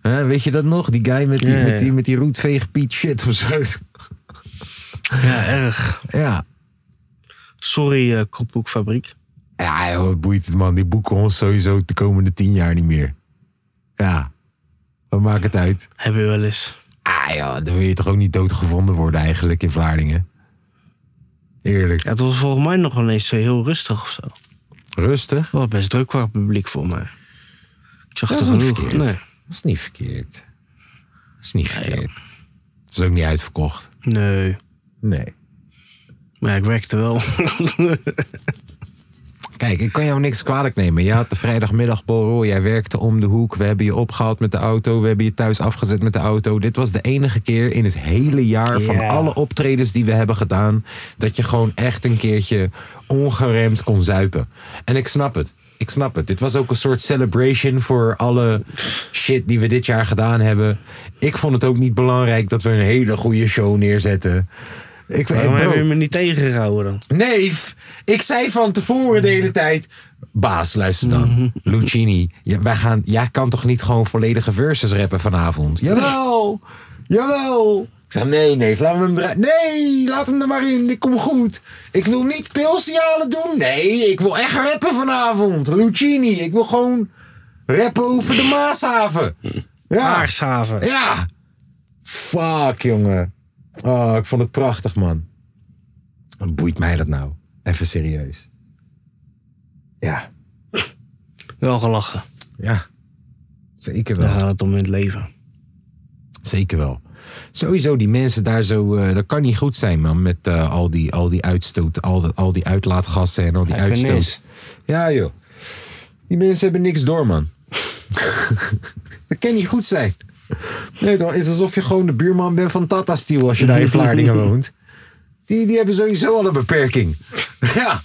A: Hè, weet je dat nog? Die guy met die,
B: Ja, ja,
A: met die,
B: ja.
A: met die roetveegpiet shit of zo.
B: Ja, erg.
A: Ja.
B: Sorry, eh Krophoekfabriek.
A: Ja, joh, wat boeit het man. Die boeken ons sowieso de komende tien jaar niet meer. Ja. Wat maakt het uit?
B: Hebben we wel eens.
A: Ah joh, dan wil je toch ook niet doodgevonden worden eigenlijk in Vlaardingen? Eerlijk.
B: Ja, het was volgens mij nog ineens eh, heel rustig of zo.
A: Rustig.
B: Wel best druk qua publiek voor mij. Ik zag
A: Dat is
B: het
A: niet
B: genoeg.
A: verkeerd.
B: Nee.
A: Dat is niet verkeerd. Dat is niet verkeerd. Het is ook niet uitverkocht.
B: nee.
A: Nee.
B: Maar ja, ik werkte
A: [laughs]
B: wel.
A: Kijk, ik kan jou niks kwalijk nemen. Je had de vrijdagmiddagborrel, jij werkte om de hoek. We hebben je opgehaald met de auto, we hebben je thuis afgezet met de auto. Dit was de enige keer in het hele jaar van
B: Ja.
A: alle optredens die we hebben gedaan... dat je gewoon echt een keertje ongeremd kon zuipen. En ik snap het. Ik snap het. Dit was ook een soort celebration voor alle shit die we dit jaar gedaan hebben. Ik vond het ook niet belangrijk dat we een hele goede show neerzetten. Ik,
B: Waarom
A: bro,
B: heb je me niet tegengehouden dan?
A: Neef, ik zei van tevoren de hele tijd. Baas, luister dan. Lucini, ja, wij gaan, jij kan toch niet gewoon volledige verses rappen vanavond? Jawel, jawel. Ik zei, nee, nee, laat hem draaien. Nee, laat hem er maar in, ik kom goed. Ik wil niet pilsialen doen. Nee, ik wil echt rappen vanavond. Lucini, ik wil gewoon rappen over de Maashaven. Ja.
B: Aarshaven.
A: Ja! Fuck, jongen. Oh, ik vond het prachtig, man. Wat boeit mij dat nou? Even serieus. Ja.
B: Wel gelachen.
A: Ja. Zeker wel.
B: Daar gaat het om in het leven.
A: Zeker wel. Sowieso, die mensen daar zo... eh, dat kan niet goed zijn, man. Met eh, al, die, al die uitstoot, al, dat- al die uitlaatgassen en al die
B: Even
A: uitstoot.
B: niks.
A: Ja, joh. Die mensen hebben niks door, man. [laughs] dat kan niet goed zijn. Nee, toch? Het is alsof je gewoon de buurman bent van Tata Steel als je daar in Vlaardingen [laughs] woont. Die, die hebben sowieso al een beperking. [laughs] ja,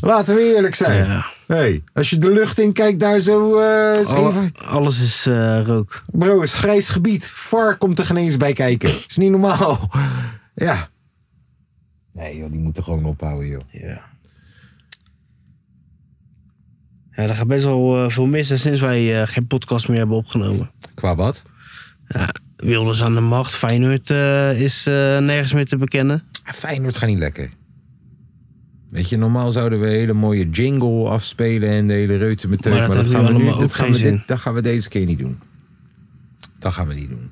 A: laten we eerlijk zijn.
B: Ja.
A: Hey, als je de lucht in kijkt, daar zo... eh, is
B: Alle-
A: even-
B: alles is eh, rook.
A: Bro, het is grijs gebied. VAR komt er geen eens bij kijken. Is niet normaal. [laughs] Ja. Nee, joh, die moeten gewoon ophouden, joh.
B: Ja. Ja, er gaat best wel eh, veel mis hè, sinds wij eh, geen podcast meer hebben opgenomen.
A: Qua wat?
B: Ja, Wilders aan de macht. Feyenoord eh, is eh, nergens meer te bekennen.
A: Feyenoord gaat niet lekker. Weet je, normaal zouden we een hele mooie jingle afspelen en de hele reuze meteen.
B: Maar dat heeft nu
A: gaan we
B: allemaal
A: dat
B: ook
A: gaan
B: geen
A: we dit,
B: zin.
A: dat gaan we deze keer niet doen. Dat gaan we niet doen.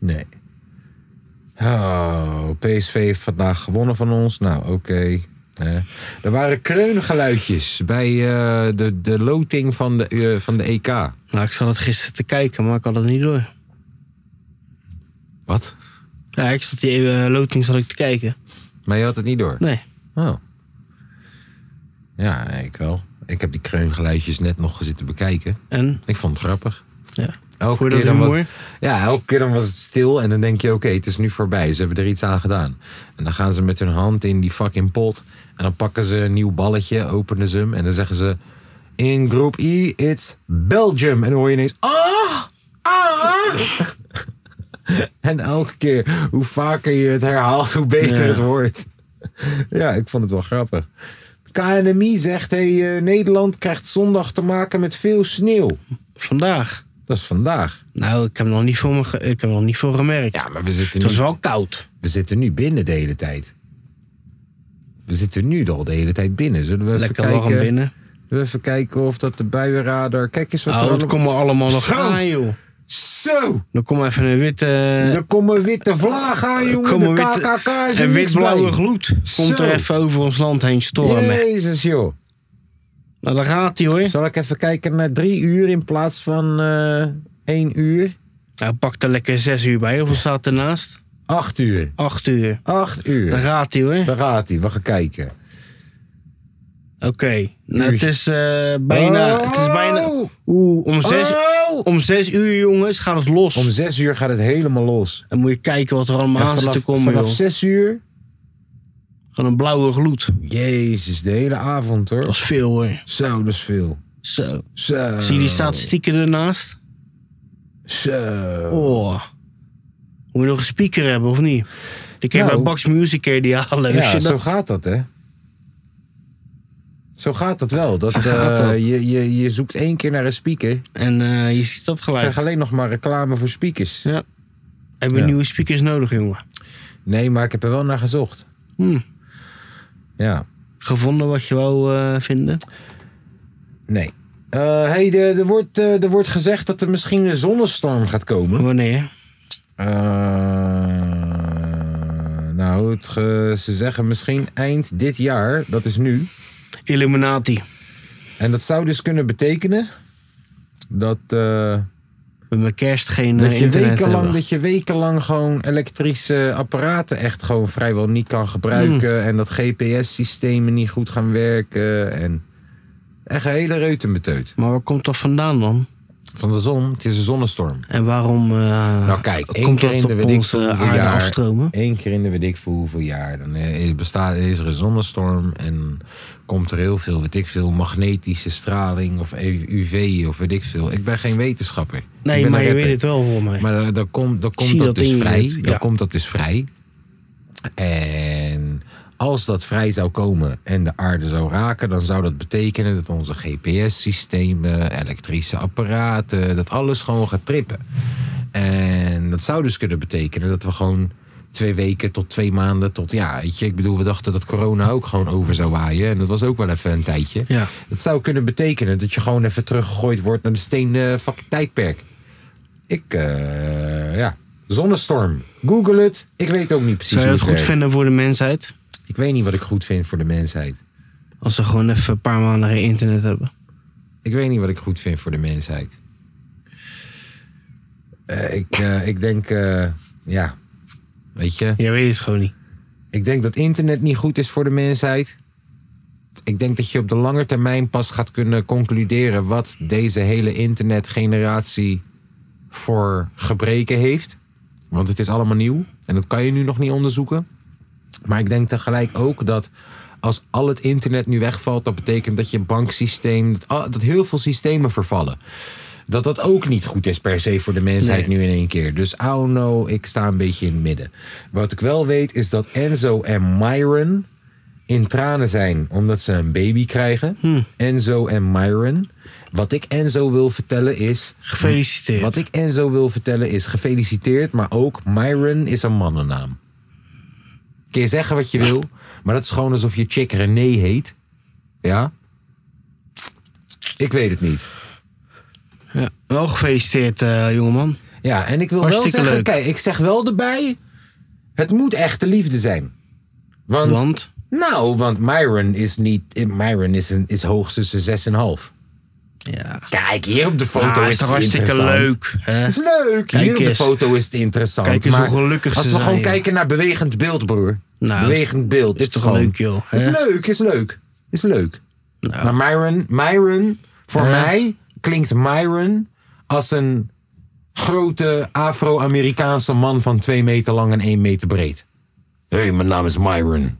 A: Nee. Oh, PSV heeft vandaag gewonnen van ons. Nou, oké. Eh, er waren kreungeluidjes bij eh, de, de loting van de, eh, van de EK.
B: Nou, ik zat het gisteren te kijken, maar ik had het niet door.
A: Wat?
B: Ja, ik zat die eh, loting zat ik te kijken.
A: Maar je had het niet door?
B: Nee.
A: Oh. Ja, ik wel. Ik heb die kreungeluidjes net nog zitten bekijken.
B: En?
A: Ik vond het grappig.
B: Ja.
A: Elke
B: Vond je
A: keer,
B: dat
A: dan was,
B: humor?
A: ja, elke keer dan was het stil en dan denk je, oké, het is nu voorbij. Ze hebben er iets aan gedaan. En dan gaan ze met hun hand in die fucking pot. En dan pakken ze een nieuw balletje, openen ze hem. En dan zeggen ze, in groep I, it's Belgium. En dan hoor je ineens, ah, ah. [laughs] en elke keer, hoe vaker je het herhaalt, hoe beter
B: Ja.
A: het wordt. [laughs] ja, ik vond het wel grappig. KNMI zegt, hey, eh, Nederland krijgt zondag te maken met veel sneeuw.
B: Vandaag.
A: Dat is vandaag.
B: Nou, ik heb nog niet voor, me ge- ik heb nog niet voor gemerkt.
A: Ja, maar we zitten,
B: het was
A: nu,
B: wel koud.
A: we zitten nu binnen de hele tijd. We zitten nu al de hele tijd binnen. Zullen we even
B: Lekker
A: kijken?
B: warm binnen.
A: Zullen we even kijken of dat de buienradar... Kijk eens wat er
B: Oh, dat
A: allemaal...
B: komen allemaal nog
A: Zo.
B: aan, joh.
A: Zo!
B: Dan komt even een eh, witte...
A: Er komen witte vlagen aan, jongen. De
B: komen wit-
A: KKK is er
B: en
A: niks
B: witblauwe
A: bij.
B: gloed komt
A: Zo.
B: er even over ons land heen stormen.
A: Jezus, joh.
B: Nou, daar gaat hij hoor.
A: Zal ik even kijken naar drie uur in plaats van eh één uur?
B: Nou, pak er lekker zes uur bij. Hoeveel staat ernaast?
A: Acht uur.
B: Acht uur.
A: Acht
B: Daar
A: uur.
B: gaat hij hoor.
A: Daar gaat hij. We gaan kijken.
B: Oké. Nou, het
A: Uurtje.
B: is eh, bijna... Het is bijna... Oeh, om zes,
A: Oh!
B: om zes uur jongens gaat het los.
A: Om zes uur gaat het helemaal los.
B: Dan moet je kijken wat er allemaal
A: En
B: aan zit te
A: vanaf,
B: komen
A: vanaf
B: joh.
A: zes uur.
B: Gewoon een blauwe gloed.
A: Jezus, de hele avond
B: Dat
A: hoor.
B: is veel hoor.
A: Zo, dat is veel.
B: Zo.
A: Zo.
B: Zie je die statistieken ernaast?
A: Zo.
B: Oh. Moet je nog een speaker hebben of niet? Die kun je
A: Nou.
B: bij Box Music kun je die halen.
A: Ja,
B: Als je
A: zo
B: dat-
A: gaat dat, hè? Zo gaat dat wel. Dat,
B: Zo gaat
A: eh,
B: dat.
A: Je, je, je zoekt één keer naar een speaker. Ik
B: En eh, je ziet dat gelijk.
A: krijg alleen nog maar reclame voor speakers.
B: Ja. Hebben we
A: Ja.
B: nieuwe speakers nodig, jongen?
A: Nee, maar ik heb er wel naar gezocht.
B: Hm.
A: Ja,
B: Gevonden wat je wou eh, vinden?
A: nee. Eh hey, de- er, wordt, eh, er wordt gezegd dat er misschien een zonnestorm gaat komen.
B: Wanneer?
A: Eh, nou, het ge- ze zeggen misschien eind dit jaar. Dat is nu.
B: Illuminati.
A: En dat zou dus kunnen betekenen dat... eh,
B: Met mijn kerst geen
A: Dat
B: eh,
A: je,
B: internet
A: wekenlang,
B: hebben.
A: dat je wekenlang gewoon elektrische apparaten echt gewoon vrijwel niet kan gebruiken. En dat GPS-systemen niet goed gaan werken. En echt een hele reutenbeteut.
B: Maar waar komt dat vandaan dan?
A: Van de zon, het is een zonnestorm.
B: En waarom eh,
A: Nou, kijk, één
B: komt
A: keer
B: dat
A: in de
B: op
A: weet ik
B: onze
A: hoeveel
B: aarde
A: jaar.
B: afstromen?
A: Eén keer in de weet ik voor hoeveel jaar. Dan eh, bestaat, is er een zonnestorm en komt er heel veel, weet ik veel, magnetische straling of UV of weet ik veel. Ik ben geen wetenschapper. Ik ben
B: Nee,
A: een
B: maar je
A: rapper.
B: weet het wel voor mij.
A: Maar eh, dan komt, dan
B: zie
A: komt dat,
B: dat
A: dus
B: in je
A: vrij.
B: niet,
A: Dan
B: ja.
A: komt dat dus vrij. En als dat vrij zou komen en de aarde zou raken, dan zou dat betekenen dat onze GPS-systemen, elektrische apparaten, dat alles gewoon gaat trippen. En dat zou dus kunnen betekenen dat we gewoon twee weken tot twee maanden tot ja, weet je, ik bedoel, we dachten dat corona ook gewoon over zou waaien en dat was ook wel even een tijdje.
B: Ja.
A: Dat zou kunnen betekenen dat je gewoon even teruggegooid wordt naar de stenen fucking tijdperk. Ik, eh, ja. Zonnestorm. Google het. Ik weet ook niet precies
B: Zou je
A: hoe
B: dat
A: het
B: goed
A: werkt.
B: vinden voor de mensheid?
A: Ik weet niet wat ik goed vind voor de mensheid.
B: Als ze gewoon even een paar maanden geen internet hebben.
A: Ik weet niet wat ik goed vind voor de mensheid. Eh, ik, eh, ik denk, eh, ja. Weet je,
B: Jij weet het gewoon niet.
A: ik denk dat internet niet goed is voor de mensheid. Ik denk dat je op de lange termijn pas gaat kunnen concluderen wat deze hele internetgeneratie voor gebreken heeft. Want het is allemaal nieuw en dat kan je nu nog niet onderzoeken. Maar ik denk tegelijk ook dat als al het internet nu wegvalt, dat betekent dat je banksysteem, dat, al- dat heel veel systemen vervallen. Dat dat ook niet goed is per se voor de mensheid
B: Nee.
A: nu in één keer. Dus oh no, ik sta een beetje in het midden. Wat ik wel weet is dat Enzo en Myron in tranen zijn omdat ze een baby krijgen.
B: Hmm.
A: Enzo en Myron. Wat ik Enzo wil vertellen is...
B: Gefeliciteerd.
A: Wat ik Enzo wil vertellen is gefeliciteerd, maar ook Myron is een mannennaam. Kun je zeggen wat je wil, maar dat is gewoon alsof je chick René heet. Ja? Ik weet het niet.
B: Ja. Wel gefeliciteerd, eh, jongeman.
A: Ja, en ik wil
B: Hartstikke
A: wel zeggen,
B: leuk.
A: kijk, ik zeg wel erbij, het moet echte liefde zijn. Want,
B: Want?
A: nou, want Myron is niet, Myron is, een, is hoogstens een 6,5.
B: Ja.
A: Kijk, hier op de foto
B: Ah,
A: is
B: is toch
A: het
B: hartstikke
A: interessant.
B: leuk. Hè?
A: Dat is leuk.
B: Kijk
A: Hier op de
B: eens.
A: foto is het interessant.
B: Kijk eens
A: maar
B: hoe gelukkig
A: Als
B: ze
A: we
B: zijn,
A: gewoon
B: joh.
A: kijken naar bewegend beeld, broer.
B: Nou,
A: bewegend beeld. Dit is
B: toch
A: gewoon.
B: leuk, joh, hè?
A: Is leuk, is leuk. Is leuk. Maar Myron, Myron voor
B: Ja.
A: mij klinkt Myron als een grote Afro-Amerikaanse man van twee meter lang en één meter breed. Hé, hey, mijn naam is Myron.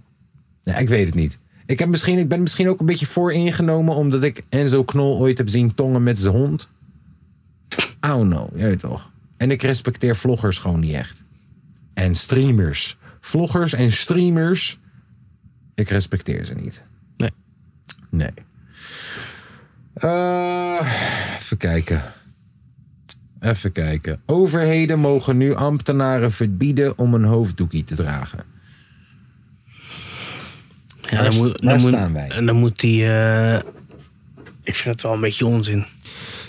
A: Ja, ik weet het niet. Ik, heb misschien, ik ben misschien ook een beetje vooringenomen omdat ik Enzo Knol ooit heb zien tongen met zijn hond. Oh no, je weet toch. En ik respecteer vloggers gewoon niet echt. En streamers. Vloggers en streamers. Ik respecteer ze niet.
B: Nee.
A: Nee. Eh, even kijken. Even kijken. Overheden mogen nu ambtenaren verbieden om een hoofddoekie te dragen.
B: Ja,
A: Waar
B: dan
A: st-
B: moet,
A: waar
B: dan moet,
A: staan wij?
B: En dan moet die... eh, ik vind het wel een beetje onzin.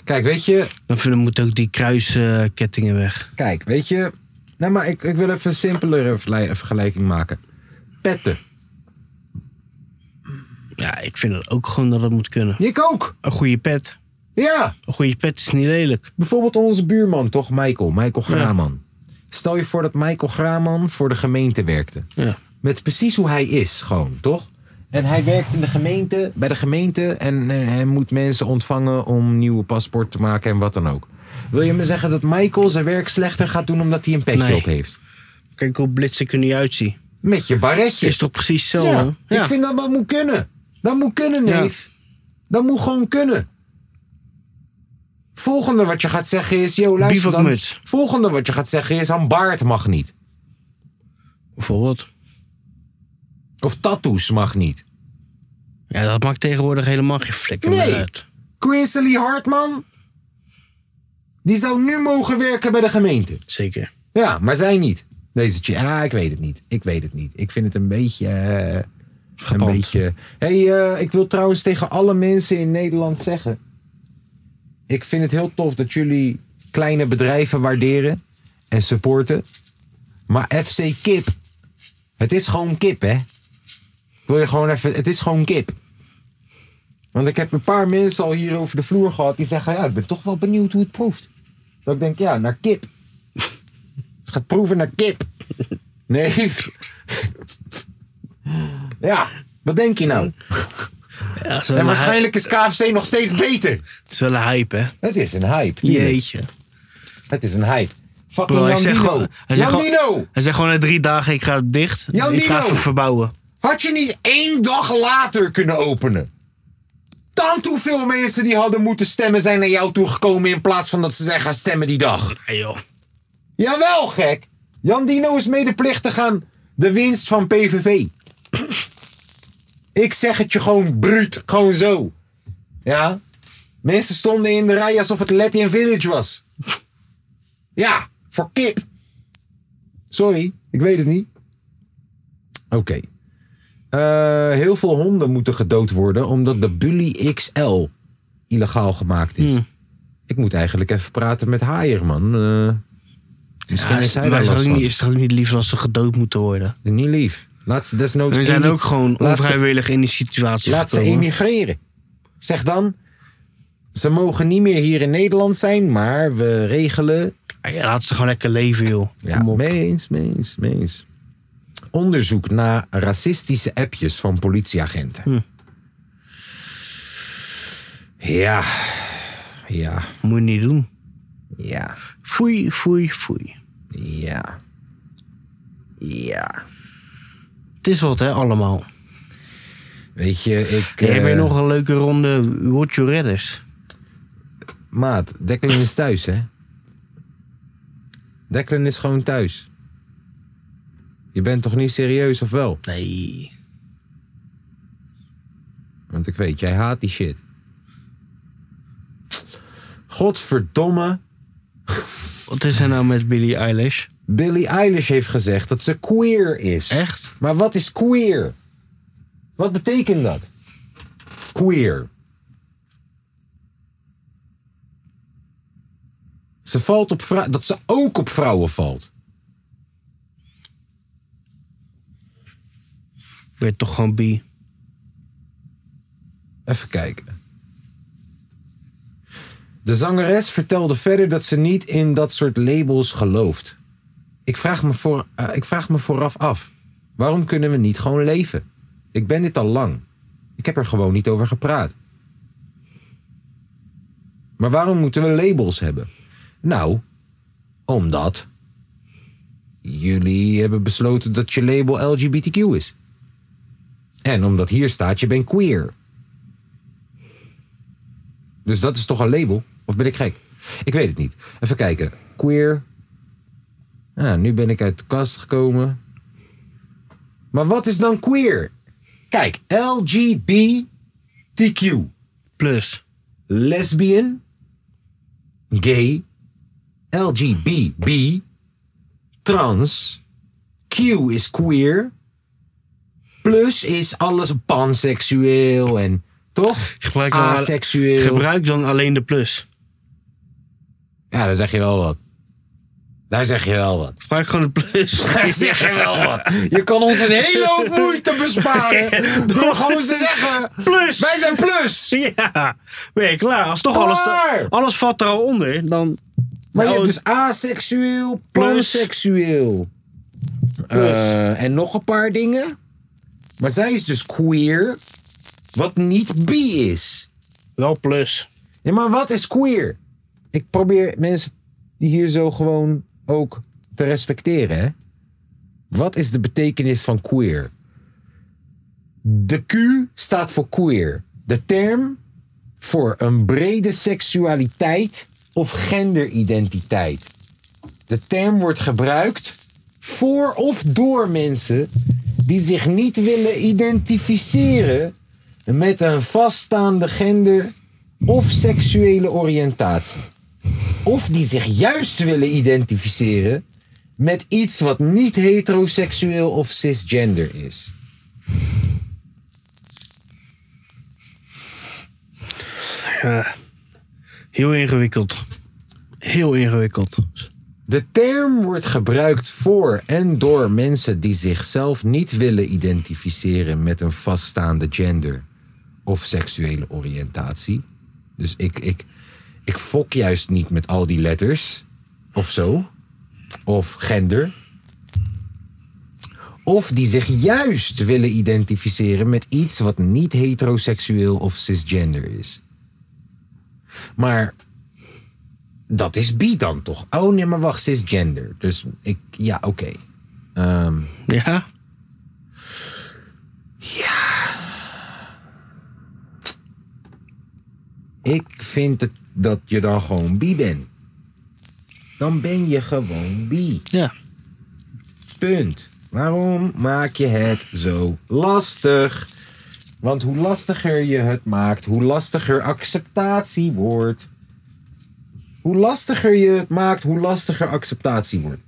A: Kijk, weet je,
B: Dan vind- dan moeten ook die kruiskettingen weg.
A: Kijk, weet je. Nou, maar ik, ik wil even een simpelere verlei- vergelijking maken. Petten.
B: Ja, ik vind het ook gewoon dat het moet kunnen.
A: Ik ook.
B: Een goede pet.
A: Ja.
B: Een goede pet is niet lelijk.
A: Bijvoorbeeld onze buurman, toch? Michael. Michael Graman. Stel je voor dat Michael Graman voor de gemeente werkte.
B: Ja.
A: Met precies hoe hij is, gewoon, toch? En hij werkt in de gemeente, bij de gemeente en, en, en moet mensen ontvangen om nieuwe paspoort te maken en wat dan ook. Wil je me zeggen dat Michael zijn werk slechter gaat doen omdat hij een petje
B: Nee.
A: op heeft?
B: Kijk hoe blitz ik er niet uitzie.
A: Met je barretje.
B: Is toch precies zo?
A: ja,
B: hè?
A: ik vind dat dat moet kunnen. Dat moet kunnen, neef. Dat moet gewoon kunnen. Volgende wat je gaat zeggen is... Yo, luister dan.
B: Bivakmuts.
A: Volgende wat je gaat zeggen is... Een baard mag niet.
B: Bijvoorbeeld.
A: Of tattoos mag niet.
B: Ja, dat maakt tegenwoordig helemaal geen flikker
A: Nee.
B: meer uit.
A: Quincy Hartman... Die zou nu mogen werken bij de gemeente.
B: Zeker.
A: Ja, maar zij niet. Deze chick. Ah, ik weet het niet. Ik weet het niet. Ik vind het een beetje. eh, een
B: Gepand.
A: beetje. hey, eh, ik wil trouwens tegen alle mensen in Nederland zeggen. Ik vind het heel tof dat jullie kleine bedrijven waarderen en supporten. Maar FC Kip. Het is gewoon kip, hè? Wil je gewoon even. Het is gewoon kip. Want ik heb een paar mensen al hier over de vloer gehad die zeggen: Ja, ik ben toch wel benieuwd hoe het proeft. Dat ik denk: Ja, naar kip. Het gaat proeven naar kip. Nee. [laughs] Ja, wat denk je nou?
B: Ja, het is wel
A: En
B: een
A: waarschijnlijk is KFC nog steeds beter.
B: hype- Het is wel een hype, hè?
A: Het is een hype. tuurlijk.
B: Jeetje.
A: Het is een hype. Fucking
B: Bro, hij zegt
A: Jandino.
B: gewoon- hij zegt gewoon-
A: Jandino!
B: Hij zegt gewoon na drie dagen, ik ga dicht.
A: Jan
B: ik ga
A: Dino.
B: even verbouwen.
A: Had je niet één dag later kunnen openen? Tant hoeveel mensen die hadden moeten stemmen zijn naar jou toegekomen in plaats van dat ze zijn gaan stemmen die dag.
B: Ja, joh.
A: Jawel, gek. Jan Dino is medeplichtig aan de winst van PVV. Ik zeg het je gewoon bruut, gewoon zo. Ja? Mensen stonden in de rij alsof het Latin Village was. Ja, voor kip. Sorry, ik weet het niet. Oké. Eh, heel veel honden moeten gedood worden omdat de Bully XL illegaal gemaakt is.
B: Hmm.
A: Ik moet eigenlijk even praten met Haier, man. Eh, misschien
B: Ja,
A: is hij
B: maar
A: daar
B: is het
A: last
B: ook
A: van.
B: niet, is het ook niet lief als ze gedood moeten worden?
A: Niet lief. Laat ze desnoods...
B: We zijn
A: emi-
B: ook gewoon
A: laat ze-
B: onvrijwillig in die situatie
A: Laat ze
B: gekomen.
A: emigreren. Zeg dan, ze mogen niet meer hier in Nederland zijn, maar we regelen.
B: Ja, laat ze gewoon lekker leven, joh.
A: Ja,
B: Kom op.
A: meens, meens, meens. Onderzoek naar racistische appjes van politieagenten. Ja, ja,
B: Moet je niet doen.
A: ja,
B: Foei, foei, foei.
A: ja, ja.
B: Het is wat, hè, allemaal.
A: Weet je, ik...
B: Heb je
A: eh,
B: nog een leuke ronde Watch Your Redders?
A: Maat, Declan is thuis, hè? Declan is gewoon thuis. Je bent toch niet serieus, of wel?
B: Nee.
A: Want ik weet, jij haat die shit. Godverdomme.
B: Wat is er nou met Billie Eilish?
A: Billie Eilish heeft gezegd dat ze queer is.
B: Echt?
A: Maar wat is queer? Wat betekent dat? Queer. Ze valt op vrou- dat ze ook op vrouwen valt.
B: Weer toch gewoon bi.
A: Even kijken. De zangeres vertelde verder dat ze niet in dat soort labels gelooft. Ik vraag me, voor, eh, ik vraag me vooraf af. Waarom kunnen we niet gewoon leven? Ik ben dit al lang. Ik heb er gewoon niet over gepraat. Maar waarom moeten we labels hebben? Nou, omdat jullie hebben besloten dat je label LGBTQ is. En omdat hier staat je bent queer. Dus dat is toch een label? Of ben ik gek? Ik weet het niet. Even kijken. Queer. Ja, nu ben ik uit de kast gekomen. Maar wat is dan queer? Kijk, LGBTQ.
B: Plus.
A: Lesbian. Gay. LGBB. Trans. Q is queer. Plus is alles panseksueel en toch?
B: Gebruik
A: Ah,
B: dan,
A: Aseksueel.
B: gebruik dan alleen de plus.
A: Ja, daar zeg je wel wat. Daar zeg je wel wat.
B: Gebruik gewoon de plus.
A: [laughs] Daar zeg je wel wat. Je kan ons een hele hoop moeite [laughs] besparen. Door gewoon te zeggen:
B: Plus.
A: Wij zijn plus.
B: Ja, ben je klaar? Als toch alles,
A: Klaar!
B: alles valt er al onder, dan
A: Maar je
B: Nou,
A: hebt dus aseksueel, panseksueel. Eh, en nog een paar dingen. Maar zij is dus queer, wat niet bi is.
B: Wel plus.
A: Ja, maar wat is queer? Ik probeer mensen die hier zo gewoon ook te respecteren. Hè? Wat is de betekenis van queer? De Q staat voor queer. De term voor een brede seksualiteit of genderidentiteit. De term wordt gebruikt voor of door mensen die zich niet willen identificeren met een vaststaande gender of seksuele oriëntatie. Of die zich juist willen identificeren met iets wat niet heteroseksueel of cisgender is.
B: Ja. Heel ingewikkeld. Heel ingewikkeld.
A: De term wordt gebruikt voor en door mensen die zichzelf niet willen identificeren met een vaststaande gender of seksuele oriëntatie. Dus ik, ik, ik fok juist niet met al die letters of zo, of gender. Of die zich juist willen identificeren met iets wat niet heteroseksueel of cisgender is. Maar dat is bi dan toch? Oh nee, maar wacht, cisgender. Dus ik, ja, oké. Ehm,
B: Ja?
A: ik vind het, dat je dan gewoon bi bent. Dan ben je gewoon bi.
B: Ja.
A: Punt. Waarom maak je het zo lastig? Want hoe lastiger je het maakt, hoe lastiger acceptatie wordt. Hoe lastiger je het maakt, hoe lastiger acceptatie wordt.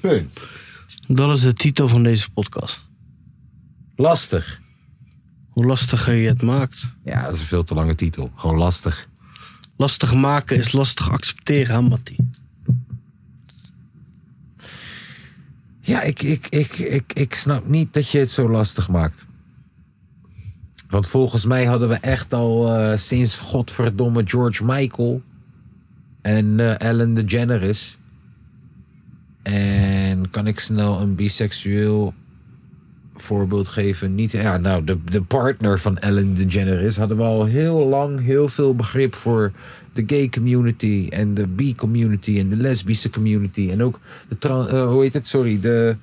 A: Punt.
B: Dat is de titel van deze podcast.
A: Lastig.
B: Hoe lastiger je het maakt.
A: Ja, dat is een veel te lange titel. Gewoon lastig.
B: Lastig maken is lastig accepteren, hè, Mattie?
A: Ja, ik, ik, ik, ik, ik snap niet dat je het zo lastig maakt. Want volgens mij hadden we echt al eh, sinds godverdomme George Michael en eh Ellen DeGeneres. En kan ik snel een biseksueel voorbeeld geven? Niet, ja, nou, de, de partner van Ellen DeGeneres hadden we al heel lang heel veel begrip voor de gay community en de bi community en de lesbische community. En ook de, tran- eh, hoe heet het, sorry, de,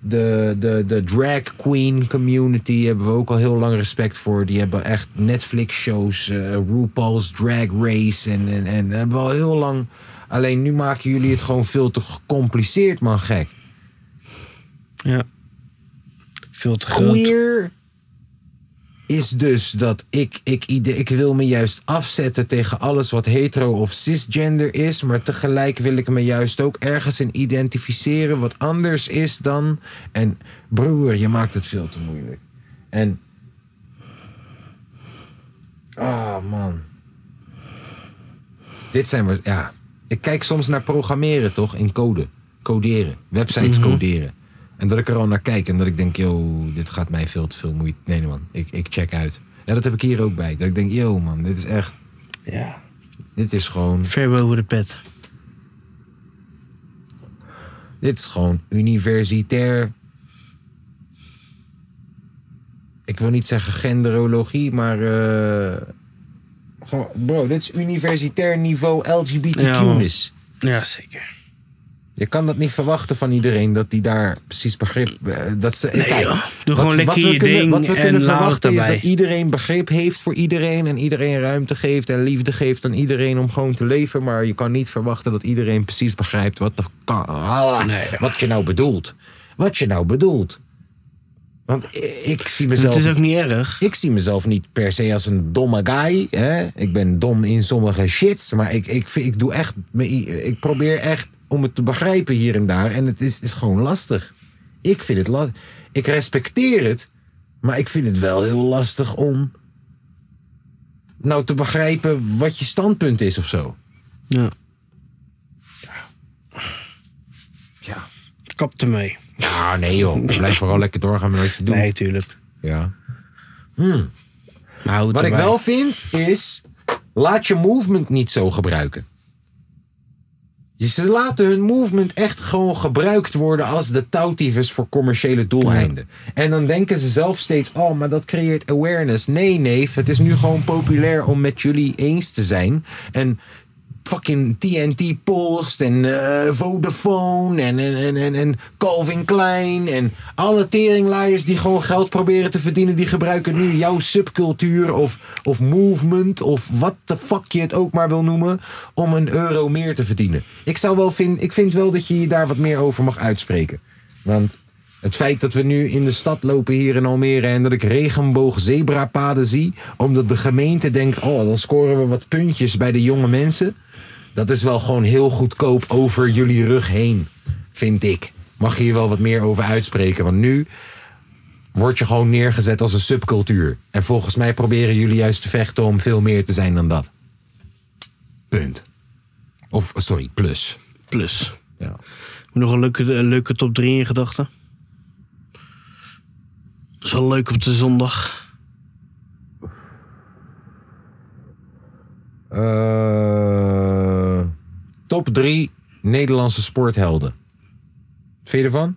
A: de, de, de drag queen community hebben we ook al heel lang respect voor. Die hebben echt Netflix shows, eh, RuPaul's Drag Race en, en, en hebben we al heel lang. Alleen nu maken jullie het gewoon veel te gecompliceerd, man, gek.
B: Ja. Veel te groot.
A: Queer is dus dat ik, ik, ide- ik wil me juist afzetten tegen alles wat hetero of cisgender is. Maar tegelijk wil ik me juist ook ergens in identificeren wat anders is dan. En broer, je maakt het veel te moeilijk. En. Ah, man. Dit zijn we. Ja. Ik kijk soms naar programmeren, toch? In code. Coderen. Websites coderen. En dat ik er al naar kijk en dat ik denk, yo, dit gaat mij veel te veel moeite. Nee, nee, man. Ik, ik check uit. Ja, dat heb ik hier ook bij. Dat ik denk, yo, man, dit is echt.
B: Ja.
A: Dit is gewoon.
B: Ver boven de pet.
A: Dit is gewoon universitair. Ik wil niet zeggen genderologie, maar. eh, gewoon- bro, dit is universitair niveau
B: Ja,
A: LGBTQ-ness.
B: Ja, zeker.
A: Je kan dat niet verwachten van iedereen dat die daar precies begrip. eh, Dat ze,
B: Nee, joh. Doe gewoon lekker
A: we
B: je
A: kunnen,
B: ding
A: Wat we
B: en
A: kunnen
B: laat het
A: verwachten is
B: erbij.
A: dat iedereen begrip heeft voor iedereen. En iedereen ruimte geeft en liefde geeft aan iedereen om gewoon te leven. Maar je kan niet verwachten dat iedereen precies begrijpt wat, de, ka- ah,
B: Nee, joh.
A: wat je nou bedoelt. Wat je nou bedoelt. Want i- ik zie
B: En
A: mezelf
B: Dus het is ook niet erg.
A: ik zie mezelf niet per se als een domme guy. Hè? Ik ben dom in sommige shits. Maar ik, ik, vind- ik, doe echt, me- ik probeer echt om het te begrijpen hier en daar. En het is, is gewoon lastig. Ik vind het lastig. Ik respecteer het. Maar ik vind het wel heel lastig om. Nou, te begrijpen wat je standpunt is of zo.
B: Ja.
A: Ja.
B: Kap ermee.
A: Ja, nee joh. Blijf vooral lekker doorgaan met wat je doet.
B: Nee, tuurlijk.
A: Ja.
B: Maar houd
A: Wat ik
B: erbij.
A: wel vind is. Laat je movement niet zo gebruiken. Ze laten hun movement echt gewoon gebruikt worden als de touwtyfus voor commerciële doeleinden. En dan denken ze zelf steeds, oh, maar dat creëert awareness. Nee, neef, het is nu gewoon populair om met jullie eens te zijn. En fucking TNT Post en eh, Vodafone en, en, en, en, en Calvin Klein en alle teringlaaiers die gewoon geld proberen te verdienen, die gebruiken nu jouw subcultuur of, of movement of wat de fuck je het ook maar wil noemen om een euro meer te verdienen. Ik zou wel vind, ik vind wel dat je je daar wat meer over mag uitspreken. Want het feit dat we nu in de stad lopen hier in Almere en dat ik regenboogzebrapaden zie, omdat de gemeente denkt: oh, dan scoren we wat puntjes bij de jonge mensen. Dat is wel gewoon heel goedkoop over jullie rug heen, vind ik. Mag je hier wel wat meer over uitspreken? Want nu word je gewoon neergezet als een subcultuur. En volgens mij proberen jullie juist te vechten om veel meer te zijn dan dat. Punt. Of, sorry, plus.
B: Plus.
A: Ja.
B: Nog een leuke, een leuke top 3 in gedachten. Dat is wel leuk op de zondag.
A: Eh, top 3 Nederlandse sporthelden. Vind je ervan?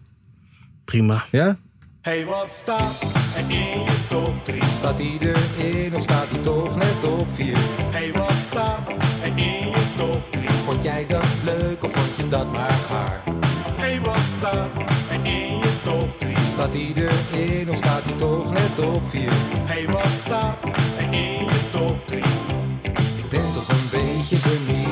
B: Prima.
A: Ja?
C: Hey, wat staat er in je top 3?
D: Staat hij erin of staat hij toch net op 4?
C: Hey, wat staat er in je top 3?
D: Vond jij dat leuk of vond je dat maar gaar?
C: Hey, wat staat er in je top 3?
D: Staat hij erin of staat hij toch net op 4?
C: Hey, wat staat er in je top 3?
D: Ik ben toch een beetje benieuwd.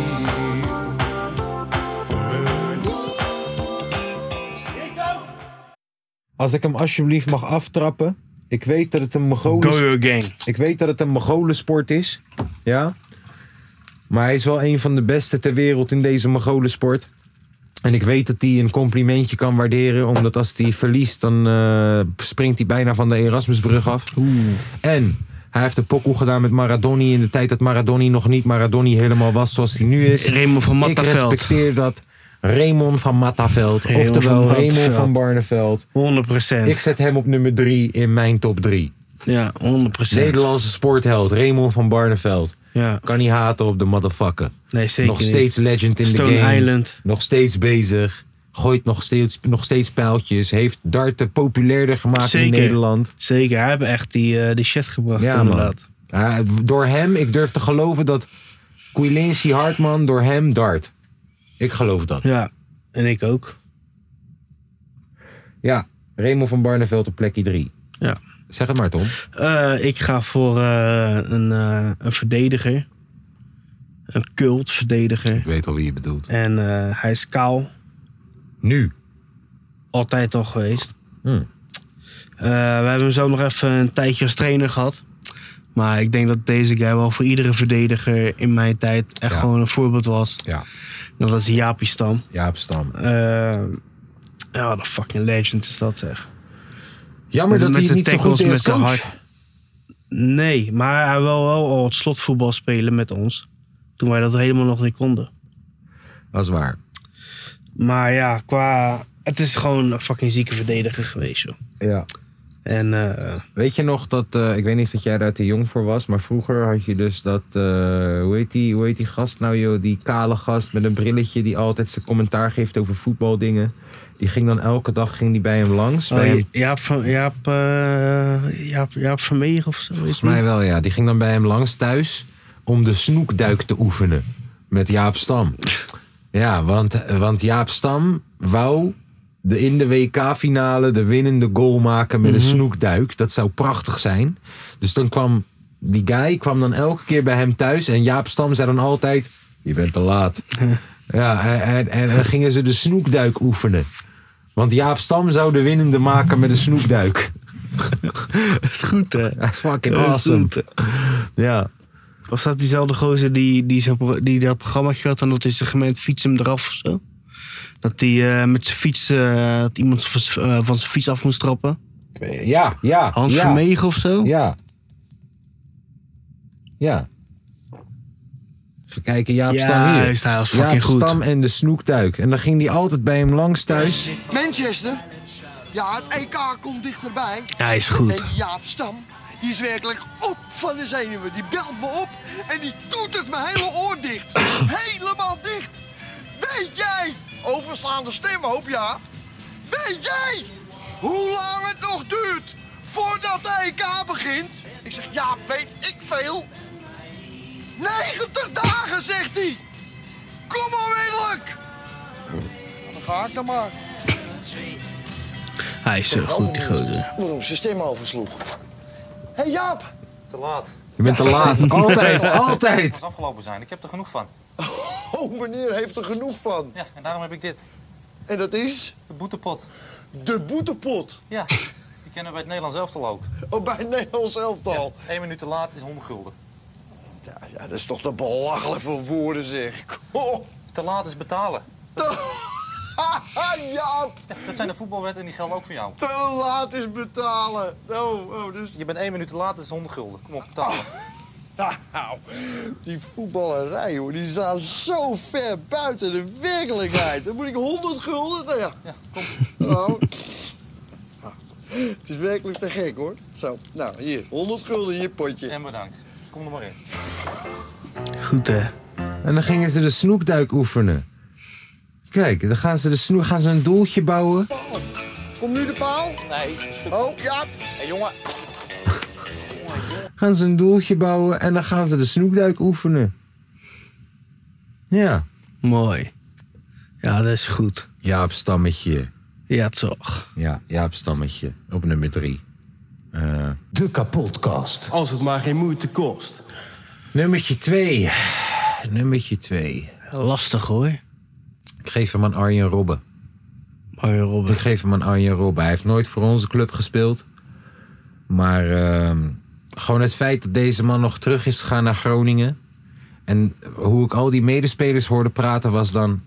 A: Als ik hem alsjeblieft mag aftrappen. Ik weet dat het een
B: Go
A: Mongolen,
B: your gang.
A: ik weet dat het een Mongolensport is. Ja? Maar hij is wel een van de beste ter wereld in deze Mongolensport. En ik weet dat hij een complimentje kan waarderen. Omdat als hij verliest, dan eh, springt hij bijna van de Erasmusbrug af. En hij heeft een pokoe gedaan met Maradoni in de tijd dat Maradoni nog niet Maradoni helemaal was zoals hij nu is.
B: Raymond van
A: Ik
B: Mattaveld.
A: respecteer dat. Raymond van Mattaveld.
B: Raymond
A: oftewel
B: van Mattaveld.
A: Raymond van Barneveld.
B: 100 procent.
A: Ik zet hem op nummer 3 in mijn top 3.
B: Ja, 100 procent.
A: Nederlandse sportheld Raymond van Barneveld.
B: Ja.
A: Kan niet haten op de motherfucker.
B: Nee, zeker
A: nog
B: niet.
A: steeds legend in
B: Stone
A: de game.
B: Island.
A: Nog steeds bezig. Gooit nog steeds, nog steeds pijltjes. Heeft darten populairder gemaakt in
B: Zeker.
A: Nederland.
B: Zeker. Hij heeft echt die, eh die shit gebracht
A: Ja,
B: inderdaad.
A: man. Ja, het- door hem, ik durf te geloven dat Quilincy Hartman door hem dart. Ik geloof dat.
B: Ja. En ik ook.
A: Ja, Raymond van Barneveld op plekje 3.
B: Ja.
A: Zeg het maar, Tom.
B: Eh, ik ga voor eh, een, eh, een verdediger. Een cultverdediger.
A: Ik weet al wie je bedoelt.
B: En eh, hij is kaal.
A: Nu.
B: Altijd al geweest.
A: Hmm.
B: Eh, we hebben hem zo nog even een tijdje als trainer gehad. Maar ik denk dat deze guy wel voor iedere verdediger in mijn tijd echt
A: Ja.
B: gewoon een voorbeeld was.
A: Ja,
B: Dat was Jaapie Stam.
A: Jaap Stam.
B: Eh, ja, wat een fucking legend is dat zeg.
A: Jammer dat hij het
B: zijn
A: niet zo goed
B: tackles,
A: is
B: met
A: als
B: zijn
A: coach.
B: hard- Nee, maar hij wil wel al het slotvoetbal spelen met ons. Toen wij dat helemaal nog niet konden.
A: Dat is waar.
B: Maar ja, qua... Het is gewoon een fucking zieke verdediger geweest, joh.
A: Ja.
B: En eh,
A: Weet je nog dat, eh, ik weet niet of jij daar te jong voor was, maar vroeger had je dus dat, eh, hoe, heet die, hoe heet die gast nou joh, die kale gast met een brilletje die altijd zijn commentaar geeft over voetbaldingen. Die ging dan elke dag ging die bij hem langs.
B: oh,
A: bij hem-
B: Jaap, Jaap, van, Jaap, eh, Jaap, Jaap Vermeegen of zo.
A: Volgens mij wel ja, die ging dan bij hem langs thuis om de snoekduik te oefenen met Jaap Stam. Ja, want, want Jaap Stam wou de, in de WK-finale de winnende goal maken met een snoekduik. Dat zou prachtig zijn. Dus dan kwam die guy kwam dan elke keer bij hem thuis. En Jaap Stam zei dan altijd: Je bent te laat. ja, en, en, en dan gingen ze de snoekduik oefenen. Want Jaap Stam zou de winnende maken met een snoekduik. [laughs]
B: Dat [laughs] is goed, hè?
A: Dat is fucking
B: Dat is
A: awesome.
B: goed, hè?
A: Ja.
B: Was dat diezelfde gozer die, die, zo, die dat programma had en dat is de gemeente fiets hem eraf of zo? Dat hij met zijn fiets, eh, dat iemand van z'n- eh, van zijn fiets af moest trappen?
A: Ja, ja.
B: Hans
A: ja,
B: Vermegen of zo?
A: Ja. Ja. Even kijken, Jaap
B: Ja,
A: Stam hier.
B: hij is- hij was fucking
A: Jaap
B: goed.
A: Stam en de snoekduik. En dan ging hij altijd bij hem langs thuis.
E: Manchester? Ja, het EK komt dichterbij.
B: Ja, hij is goed.
E: En Jaap Stam, die is werkelijk op van de zenuwen. Die
B: [coughs]
E: belt me op en die doet het mijn hele oor dicht. Helemaal dicht. Weet je onverstaande stemhoop, ja? Weet jij hoe lang het nog duurt voordat de EK begint? Ik zeg, ja, weet ik veel. 90 dagen, zegt hij. Kom onmiddellijk. Dan ga ik dan maar.
B: Hij is zo goed, die gozer.
E: Waarom zijn stem al versloeg. Hé hey Jaap,
A: Je bent te
B: [laughs]
E: [laughs]
A: laat. Altijd, altijd.
F: afgelopen zijn. Ik heb er genoeg van.
E: oh meneer heeft er genoeg van.
F: Ja, en daarom heb ik dit.
E: En dat is
F: De boetepot.
E: de boetepot.
F: Ja, die kennen we bij het Nederlands elftal ook.
E: Oh, bij het Nederlands elftal.
F: Eén minuut te laat is 100 gulden.
E: Ja, ja, dat is toch te belachelijk voor woorden zeg. [laughs] Kom.
F: Te laat is betalen.
E: Jaap,
F: Ja, dat zijn de voetbalwetten en die gelden ook voor jou.
E: te laat is betalen. Oh, oh dus...
F: Je bent één minuut te laat, is 100 gulden. Kom op, betalen.
E: Nou, die voetballerij hoor, die staan zo ver buiten de werkelijkheid. Dan moet ik 100 gulden, nou ja.
F: Ja, kom.
E: Oh. Het is werkelijk te gek hoor. Zo, nou hier, 100 gulden in je potje.
F: En bedankt. Kom er maar in.
B: Goed, hè?
A: En dan gingen ze de snoepduik oefenen. Kijk, dan gaan ze, de snoe gaan ze een doeltje bouwen.
E: Komt nu de paal?
F: Nee, stuk.
E: Oh, ja.
F: Hé, jongen.
A: Gaan ze een doeltje bouwen en dan gaan ze de snoepduik oefenen. Ja.
B: Mooi. Ja, dat is goed.
A: Jaap Stammetje.
B: Ja, toch.
A: Ja, Jaap Stammetje. Op nummer drie.
D: De kapotkast.
C: Als het maar geen moeite kost.
A: Nummertje twee. Nummertje twee.
B: Lastig, hoor.
A: Ik geef hem aan Arjen Robben.
B: Mario Robben.
A: Ik geef hem aan Arjen Robben. Hij heeft nooit voor onze club gespeeld. Maar ehm, gewoon het feit dat deze man nog terug is gegaan naar Groningen. En hoe ik al die medespelers hoorde praten was dan...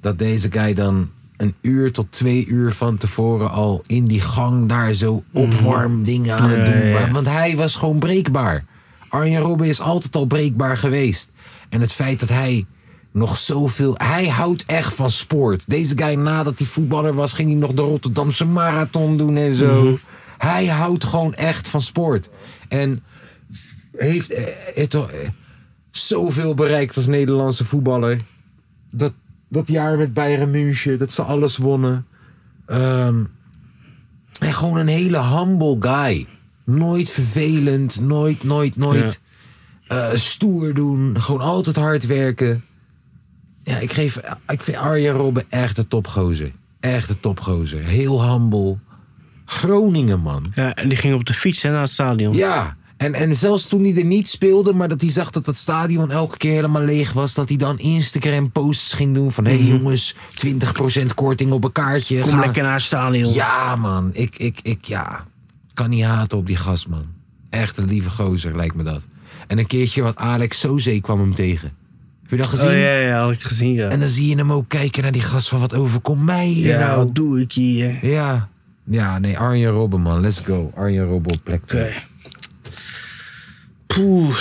A: dat deze guy dan een uur tot twee uur van tevoren al in die gang daar zo opwarmdingen aan het
B: Mm. Ja,
A: doen.
B: ja, ja.
A: Want hij was gewoon breekbaar. Arjen Robben is altijd al breekbaar geweest. En het feit dat hij nog zoveel... Hij houdt echt van sport. Deze guy nadat hij voetballer was... ging hij nog de Rotterdamse Marathon doen en zo.
B: Mhm.
A: Hij houdt gewoon echt van sport. En heeft eh, het, eh, zoveel bereikt als Nederlandse voetballer. Dat, dat jaar met Bayern München, dat ze alles wonnen. Ehm, en gewoon een hele humble guy. Nooit vervelend, nooit, nooit, nooit eh, stoer doen. Gewoon altijd hard werken. Ja, ik, geef, ik vind Arjen Robben echt een topgozer. Echt een topgozer. Heel humble. Groningen, man.
B: Ja, en die ging op de fiets hè, naar het stadion.
A: Ja, en, en zelfs toen hij er niet speelde, maar dat hij zag dat dat stadion elke keer helemaal leeg was, dat hij dan Instagram-posts ging doen van: hé hey jongens, 20% korting op een kaartje.
B: Mhm. Kom
A: Ga-
B: lekker naar het stadion.
A: Ja, man, ik, ik, ik, ja. Kan niet haten op die gast, man. Echt een lieve gozer, lijkt me dat. En een keertje wat Alex Soze kwam hem tegen. Heb je dat gezien?
B: Oh ja, ja, had ik gezien, ja.
A: En dan zie je hem ook kijken naar die gast van: wat overkomt mij hier
B: ja,
A: nou?
B: wat doe ik hier? Oké.
A: Ja. Ja, nee, Arjen Robben, man. Let's go. Arjen Robben op plek twee.
B: Poeh.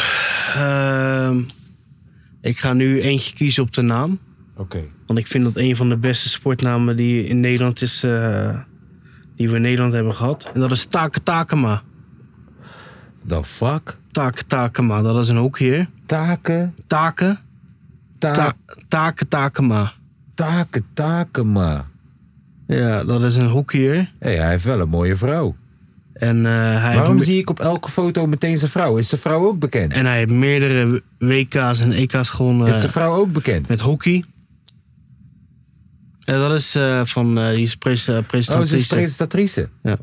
B: ehm, ik ga nu eentje kiezen op de naam.
A: Oké.
B: Want ik vind dat een van de beste sportnamen die in Nederland is... eh, die we in Nederland hebben gehad. En dat is Take Takema.
A: The fuck?
B: Take Takema, dat is een hokje.
A: Taken,
B: Take,
A: ta
B: ta, Take Takema.
A: taken, taken, maar.
B: Ja, dat is een hockeyer.
A: Hé, hij heeft wel een mooie vrouw.
B: En, eh, hij
A: Waarom
B: heeft, me-
A: zie ik op elke foto meteen zijn vrouw? Is zijn vrouw ook bekend?
B: en hij heeft meerdere WK's en EK's gewonnen
A: Is zijn vrouw ook bekend?
B: met hockey. Ja, dat is eh, van eh, die is pres, eh,
A: Oh, ze is
B: presentatrice.
A: presentatrice.
B: Ja.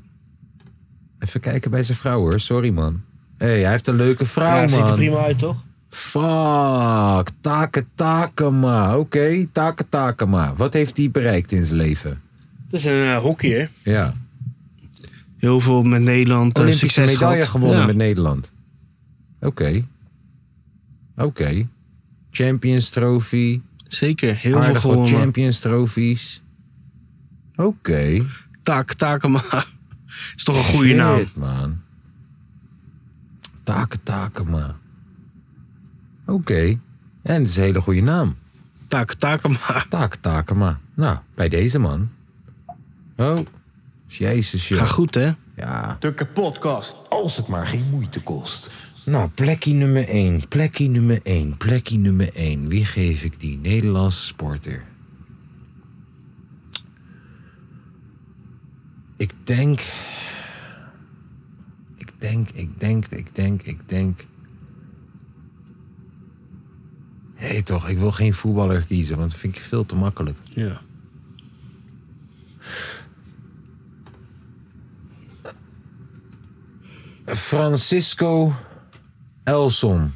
A: Even kijken bij zijn vrouw hoor, sorry man. Hé, hij heeft een leuke
B: Ja,
A: vrouw
B: hij Ah, ziet er
A: man.
B: prima uit, toch?
A: Fuck, taken, taken, maar. Oké, taken, taken, maar. Wat heeft hij bereikt in zijn leven?
B: Dat is een eh, hockeyer.
A: Ja.
B: Heel veel met Nederland eh,
A: Olympische
B: succes
A: medaille
B: gehad.
A: gewonnen
B: Ja.
A: met Nederland. Oké. Oké. Champions Trophy.
B: Zeker, heel veel
A: aardig wat
B: gewonnen.
A: Champions Trophies. Oké.
B: Take Takema. [laughs] is toch een goede
A: Shit,
B: naam.
A: man. Taken, taken, man. Oké. En het is een hele goede naam.
B: Take Takema.
A: Taken, taken, man. Nou, bij deze man. Oh. Jezus,
B: Ga
A: joh.
B: goed, hè?
A: Ja.
C: De kapotkast.
D: Als het maar geen moeite kost.
A: Nou, plekje nummer 1. Plekje nummer 1. Plekje nummer 1. Wie geef ik die Nederlandse sporter? Ik denk. Ik denk, ik denk, ik denk, ik denk. Hé toch, ik wil geen voetballer kiezen, want dat vind ik veel te makkelijk.
B: Ja.
A: Francisco Elson.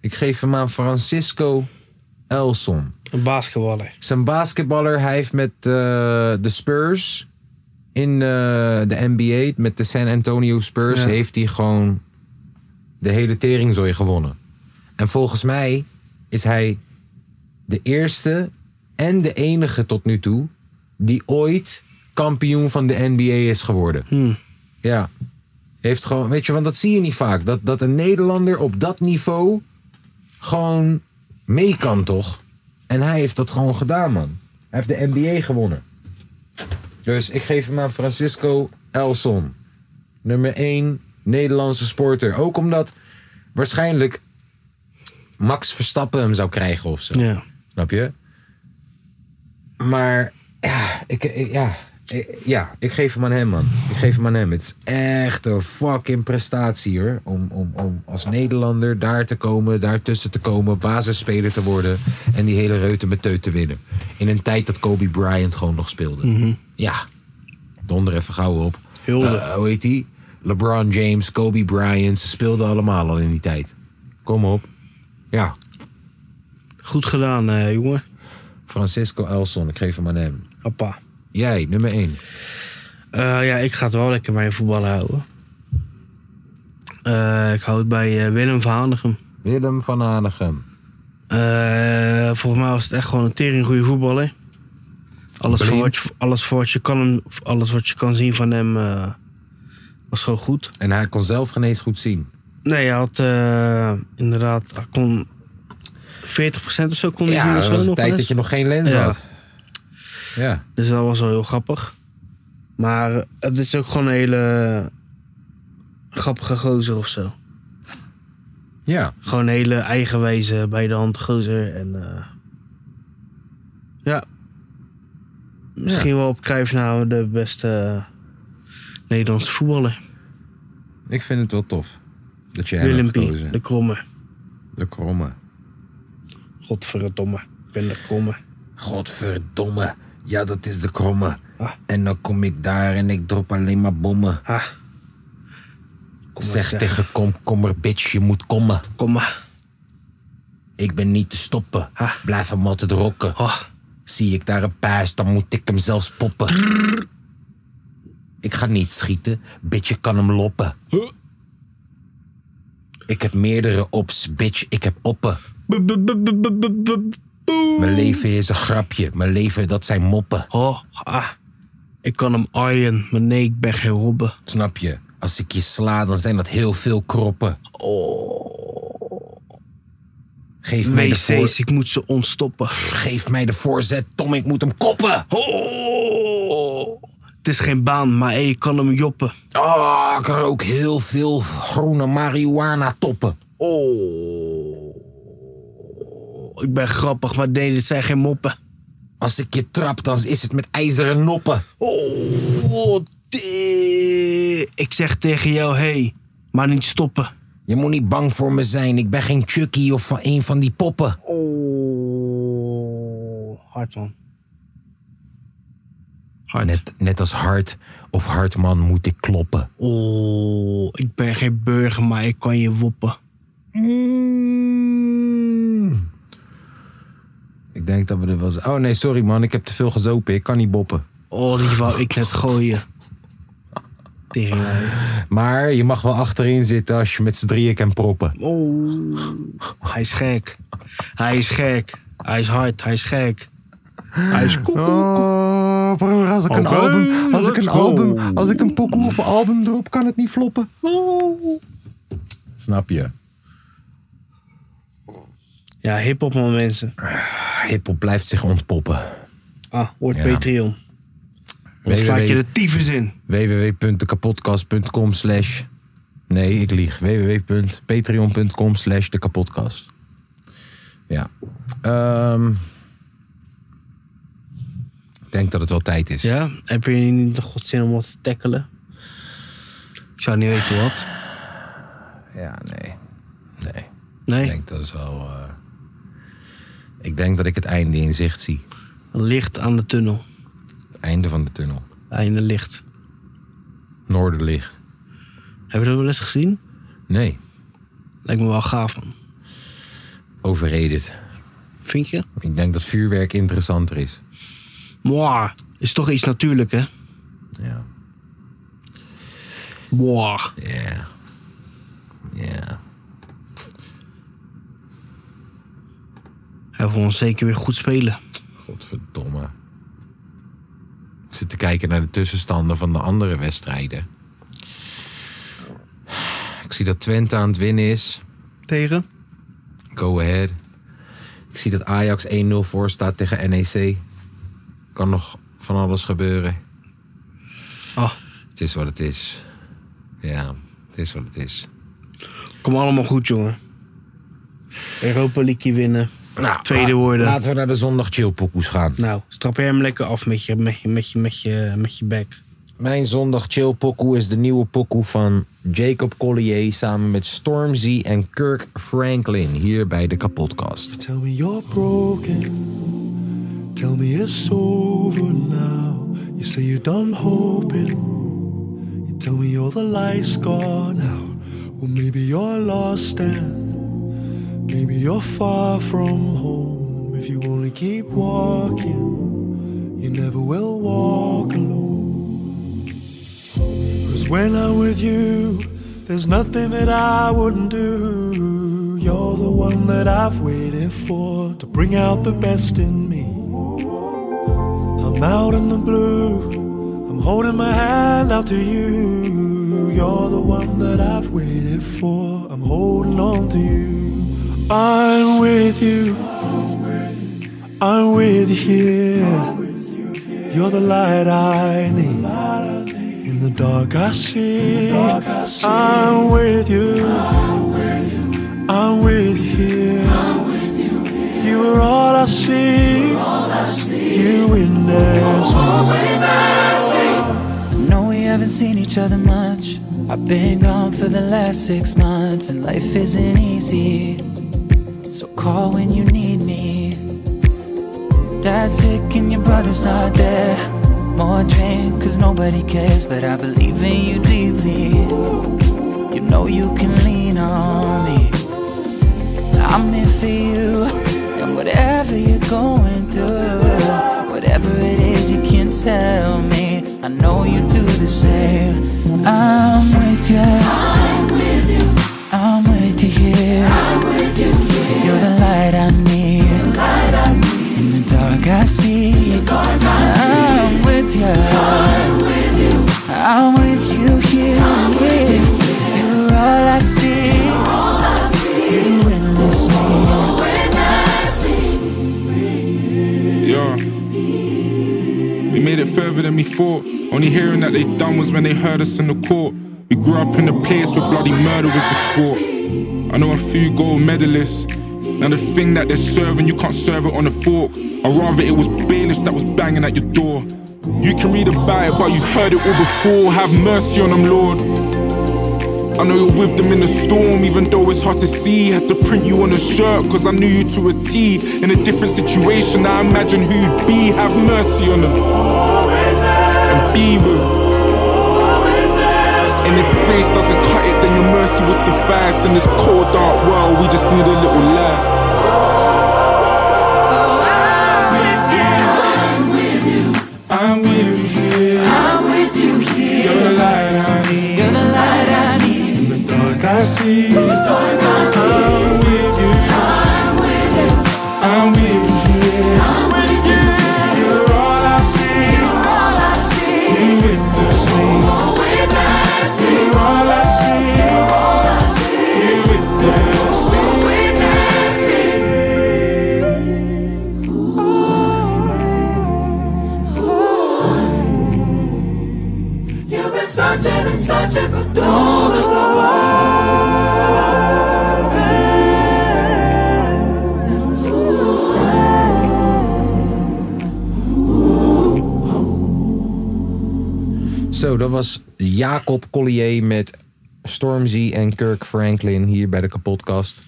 A: Ik geef hem aan Francisco Elson.
B: Een basketballer.
A: is een basketballer. Hij heeft met eh, de Spurs in eh, de NBA, met de San Antonio Spurs,
B: Ja.
A: heeft hij gewoon de hele teringzooi gewonnen. En volgens mij is hij de eerste en de enige tot nu toe die ooit kampioen van de NBA is geworden.
B: Hmm.
A: Ja. Heeft gewoon, weet je, want dat zie je niet vaak. Dat, dat een Nederlander op dat niveau gewoon mee kan, toch? En hij heeft dat gewoon gedaan, man. Hij heeft de NBA gewonnen. Dus ik geef hem aan Francisco Elson. Nummer 1 Nederlandse sporter. Ook omdat waarschijnlijk Max Verstappen hem zou krijgen of zo.
B: Ja.
A: Snap je? Maar ja, ik, ik- ja, ik- ja, ik geef hem aan hem, man. Ik geef hem aan hem. Het is echt een fucking prestatie, hoor. Om, om, om als Nederlander daar te komen, daartussen te komen, basisspeler te worden en die hele reutemeteut te winnen. In een tijd dat Kobe Bryant gewoon nog speelde. Ja, donder even gauw op.
B: Hulde.
A: Eh, hoe heet die? LeBron James, Kobe Bryant, ze speelden allemaal al in die tijd. Kom op. Ja,
B: Goed gedaan, eh, jongen.
A: Francisco Elson, ik geef hem aan hem.
B: Appa.
A: Jij, nummer 1.
B: Eh, ja, ik ga het wel lekker bij voetballen houden. Eh, ik hou het bij eh, Willem van Hanegem.
A: Willem van Hanegem.
B: Eh, volgens mij was het echt gewoon een tering goede voetballer. Alles voor,
A: Blind.
B: wat je, alles, voor wat je kan, alles wat je kan zien van hem eh, was gewoon goed.
A: En hij kon zelf geen eens goed zien.
B: Nee, hij had eh, inderdaad, hij kon 40% of zo kon hij zien. of
A: Ja, dat
B: zo
A: was een
B: nog
A: tijd
B: eens.
A: dat je nog geen lens
B: Ja.
A: had. Ja.
B: Dus dat was wel heel grappig. Maar het is ook gewoon een hele grappige gozer of zo.
A: Ja.
B: Gewoon een hele eigenwijze, bij de hand gozer. En eh, ja. Misschien wel op Cruijff nou de beste Nederlandse voetballer.
A: Ik vind het wel tof. Dat jij hem
B: Willem
A: hebt
B: Pie,
A: gekozen.
B: de kromme.
A: De kromme.
B: Godverdomme, ik ben de kromme.
A: Godverdomme. Ja, dat is de kromme.
B: Ah.
A: En dan kom ik daar en ik drop alleen maar bommen.
B: Ah. Kom maar,
A: zeg tegen komkommer, bitch, je moet komen.
B: Kom maar.
A: Ik ben niet te stoppen.
B: Ah.
A: Blijf hem altijd rokken.
B: Ah.
A: Zie ik daar een paas, dan moet ik hem zelfs poppen. Ik ga niet schieten, bitch, ik kan hem loppen. Ik heb meerdere ops, bitch, ik heb oppen.
B: Bu- bu- bu- bu- bu- bu- bu- boe.
A: Mijn leven is een grapje, mijn leven dat zijn moppen.
B: Oh, ah. Ik kan hem aaien, maar nee, ik ben geen robben.
A: Snap je? Als ik je sla, dan zijn dat heel veel kroppen. Oh. Geef mij, de voor...
B: WC's, ik moet ze ontstoppen.
A: Geef mij de voorzet, Tom, ik moet hem koppen.
B: Oh. Het is geen baan, maar hey, ik kan hem joppen.
A: Oh, ik rook heel veel groene marihuana toppen.
B: Oh. Ik ben grappig, maar nee, dit zijn geen moppen.
A: Als ik je trap, dan is het met ijzeren noppen.
B: Oh, de- ik zeg tegen jou, hey, maar niet stoppen.
A: Je moet niet bang voor me zijn. Ik ben geen Chucky of van een van die poppen.
B: Oh, hard man. Hard.
A: Net, net als Hart of Hartman moet ik kloppen.
B: Oh, ik ben geen burger, maar ik kan je woppen.
A: Mm. Ik denk dat we er wel zijn. Oh nee, sorry man. Ik heb te veel gezopen. Ik kan niet boppen.
B: Oh, die wou ik net gooien. Tegen jou.
A: Maar je mag wel achterin zitten als je met z'n drieën kan proppen.
B: Oh, hij is gek. Hij is gek. Hij is hard, hij is gek. Hij is koekoek.
A: Oh, broer, als ik
B: een Oké, album- als ik let's een go. album-
A: als ik een pokoe of album drop, kan het niet floppen. Snap je?
B: Ja, hip-hop man, mensen.
A: Hiphop blijft zich ontpoppen.
B: Ah, wordt
A: Ja.
B: Patreon. Dan
A: www.
B: slaat je de tyfus in.
A: www.dekapodcast.com slash... Nee, ik lieg. www.patreon.com slash dekapodcast. Ja. Ehm, ik denk dat het wel tijd is.
B: Ja? Heb je niet de godzin om wat te tackelen? Ik zou niet weten wat.
A: Ja, nee. Nee. Ik
B: Nee,
A: denk dat is wel. eh, ik denk dat ik het einde in zicht zie.
B: licht aan de tunnel.
A: Het einde van de tunnel.
B: Einde licht.
A: Noorderlicht.
B: Heb je dat wel eens gezien?
A: Nee,
B: Lijkt me wel gaaf, man.
A: overredend.
B: Vind je?
A: Ik denk dat vuurwerk interessanter is.
B: Mwah. Is toch iets natuurlijk, hè?
A: Ja.
B: Mwah.
A: Ja. Ja.
B: Hij wil ons zeker weer goed spelen.
A: Godverdomme. Ik zit te kijken naar de tussenstanden van de andere wedstrijden. Ik zie dat Twente aan het winnen is.
B: Tegen?
A: Go ahead. Ik zie dat Ajax 1-0 voor staat tegen NEC. Kan nog van alles gebeuren.
B: Ah,
A: Het is wat het is. Ja, het is wat het is.
B: kom allemaal goed, jongen. Europa League winnen.
A: Nou,
B: Tweede
A: la-
B: woorden.
A: Laten we naar de zondag chillpokoes gaan.
B: Nou, strap jij hem lekker af met je, met je, met je, met je, met je bek.
A: Mijn zondag chill pokoe is de nieuwe pokoe van Jacob Collier samen met Stormzy en Kirk Franklin hier bij de kapotkast.
G: Tell me you're broken. Tell me it's over now. You say you're done hoping. You tell me all the light's gone out. Well, maybe you're lost and maybe you're far from home. If you only keep walking, you never will walk alone. Cause when I'm with you, there's nothing that I wouldn't do. You're the one that I've waited for to bring out the best in me. I'm out in the blue, I'm holding my hand out to you. You're the one that I've waited for, I'm holding on to you. I'm with you, I'm with you here. You're the light I need. In the dark I see, I'm with you. I'm with you. You are all I see. You witness me.
H: No, we haven't seen each other much. I've been gone for the last six months, and life isn't easy. So call when you need me. Dad's sick and your brother's not there. More drink, cause nobody cares, but I believe in you deeply. You know you can lean on me. I'm here for you, and whatever you're going through, whatever it is you can tell me, I know you do the same. I'm with you. I'm with you here. You're the light I need. In the dark I see. I'm with you. I'm with you here. You're all I see. You witness me.
I: Yeah. We made it further than we thought. Only hearing that they done was when they heard us in the court. We grew up in a place where bloody murder was the sport. I know a few gold medalists. Now the thing that they're serving, you can't serve it on a fork. Or rather, it was bailiffs that was banging at your door. You can read about it, but you've heard it all before. Have mercy on them, Lord. I know you're with them in the storm, even though it's hard to see. Had to print you on a shirt, cause I knew you to a T. In a different situation, I imagine who you'd be. Have mercy on them. And be with them. And if grace doesn't cut it, then your mercy will suffice. In this cold, dark world, we just need a little light.
G: I'm with you here.
H: I'm with you here.
G: You're the light I need.
H: You're the light I need.
G: In the dark I see. I'm with you. I'm with you here. You're all I see. You witness me. You're all I see. You witness me.
A: Zo, dat was Jacob Collier met Stormzy en Kirk Franklin hier bij de kapotkast.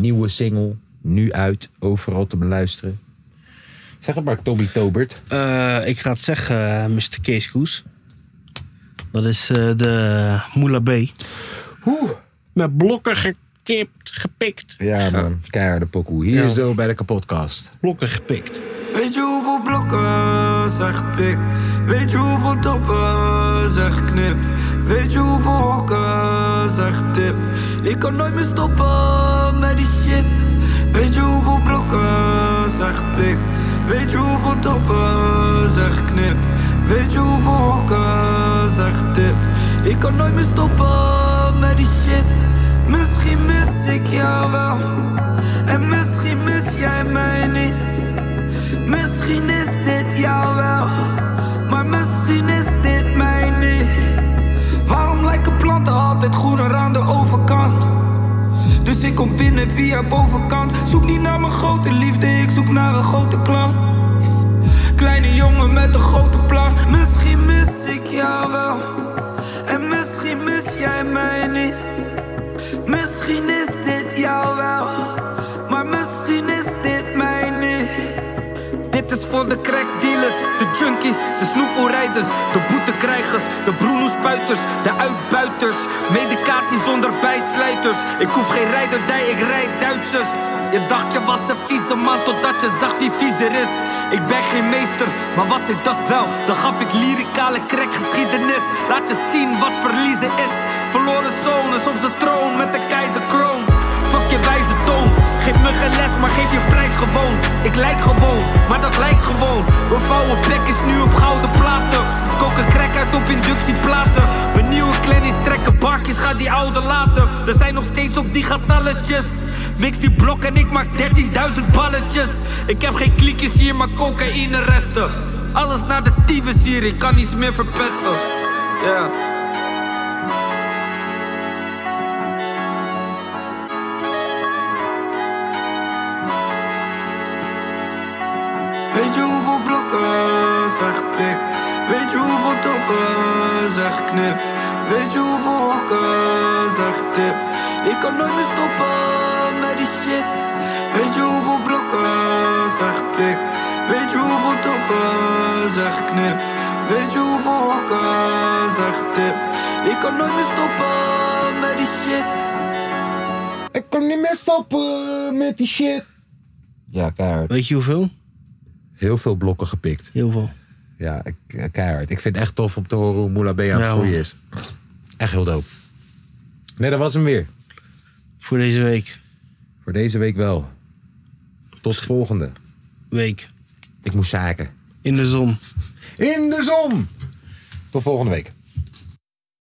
A: Nieuwe single, nu uit, overal te beluisteren. Zeg het maar, Toby Tobert.
B: Eh, ik ga het zeggen, eh, Mr. Kees Koes. Dat is eh, de Moula B. Met blokken gekipt, gepikt.
A: Ja, man, keiharde pokoe. Hier
B: Ja.
A: zo bij de kapotkast.
B: Blokken gepikt.
J: Weet je hoeveel blokken, zeg pik. Weet je hoeveel toppen, zeg knip. Weet je hoeveel hokken, zeg tip. Ik kan nooit meer stoppen met die shit. Weet je hoeveel blokken, zeg pik. Weet je hoeveel toppen, zeg knip. Weet je hoeveel hokken, zeg tip. Ik kan nooit meer stoppen met die shit. Misschien mis ik jou wel. En misschien mis jij mij niet. Misschien is dit jou wel, maar misschien is dit mij niet. Waarom lijken planten altijd groener aan de overkant? Dus ik kom binnen via bovenkant. Zoek niet naar mijn grote liefde, ik zoek naar een grote klant. Kleine jongen met een grote plan. Misschien mis ik jou wel, en misschien mis jij mij niet. Misschien is dit jou wel, maar misschien is dit mij niet. Dit is voor de crackdealers, de junkies, de snoefelrijders, de boetekrijgers, de broeloespuiters, de uitbuiters. Medicatie zonder bijsluiters. Ik hoef geen rijderdij, ik rijd Duitsers. Je dacht je was een vieze man totdat je zag wie viezer is. Ik ben geen meester, maar was ik dat wel, dan gaf ik lyricale crackgeschiedenis. Laat je zien wat verliezen is. Verloren zoon is op zijn troon met de keizerkroon. Fuck je wijze toon. Geef me geen les, maar geef je prijs gewoon. Ik lijk gewoon, maar dat lijkt gewoon. Mijn vouwen bek is nu op gouden platen. Koken krek uit op inductieplaten. Mijn nieuwe kleding trekken barkjes, ga die oude laten. We zijn nog steeds op die getalletjes. Mix die blok en ik maak 13.000 balletjes. Ik heb geen kliekjes hier, maar cocaïne resten. Alles naar de tyfus hier, ik kan niets meer verpesten. Ja. Weet je hoeveel blokken, zeg pik. Weet je hoeveel toppen, zeg knip. Weet je hoeveel hokken, zeg tip. Ik kan nooit meer stoppen met die shit. Weet je hoeveel blokken, zeg pik. Weet je hoeveel toppen, zeg knip. Weet je hoeveel hokken, zeg tip. Ik kan nooit meer stoppen met die shit.
A: Ik kan niet meer stoppen met die shit. Ja, keihard.
B: Weet je hoeveel?
A: Heel veel blokken gepikt.
B: Heel veel.
A: Ja, ik- eh, keihard. Ik vind het echt tof om te horen hoe Moula B aan het
B: Ja,
A: groeien
B: man.
A: is. Echt heel dope. Nee, dat was hem weer.
B: Voor deze week.
A: Voor deze week wel. Tot volgende.
B: Week.
A: Ik moest zaken.
B: In de zon.
A: In de zon! Tot volgende week.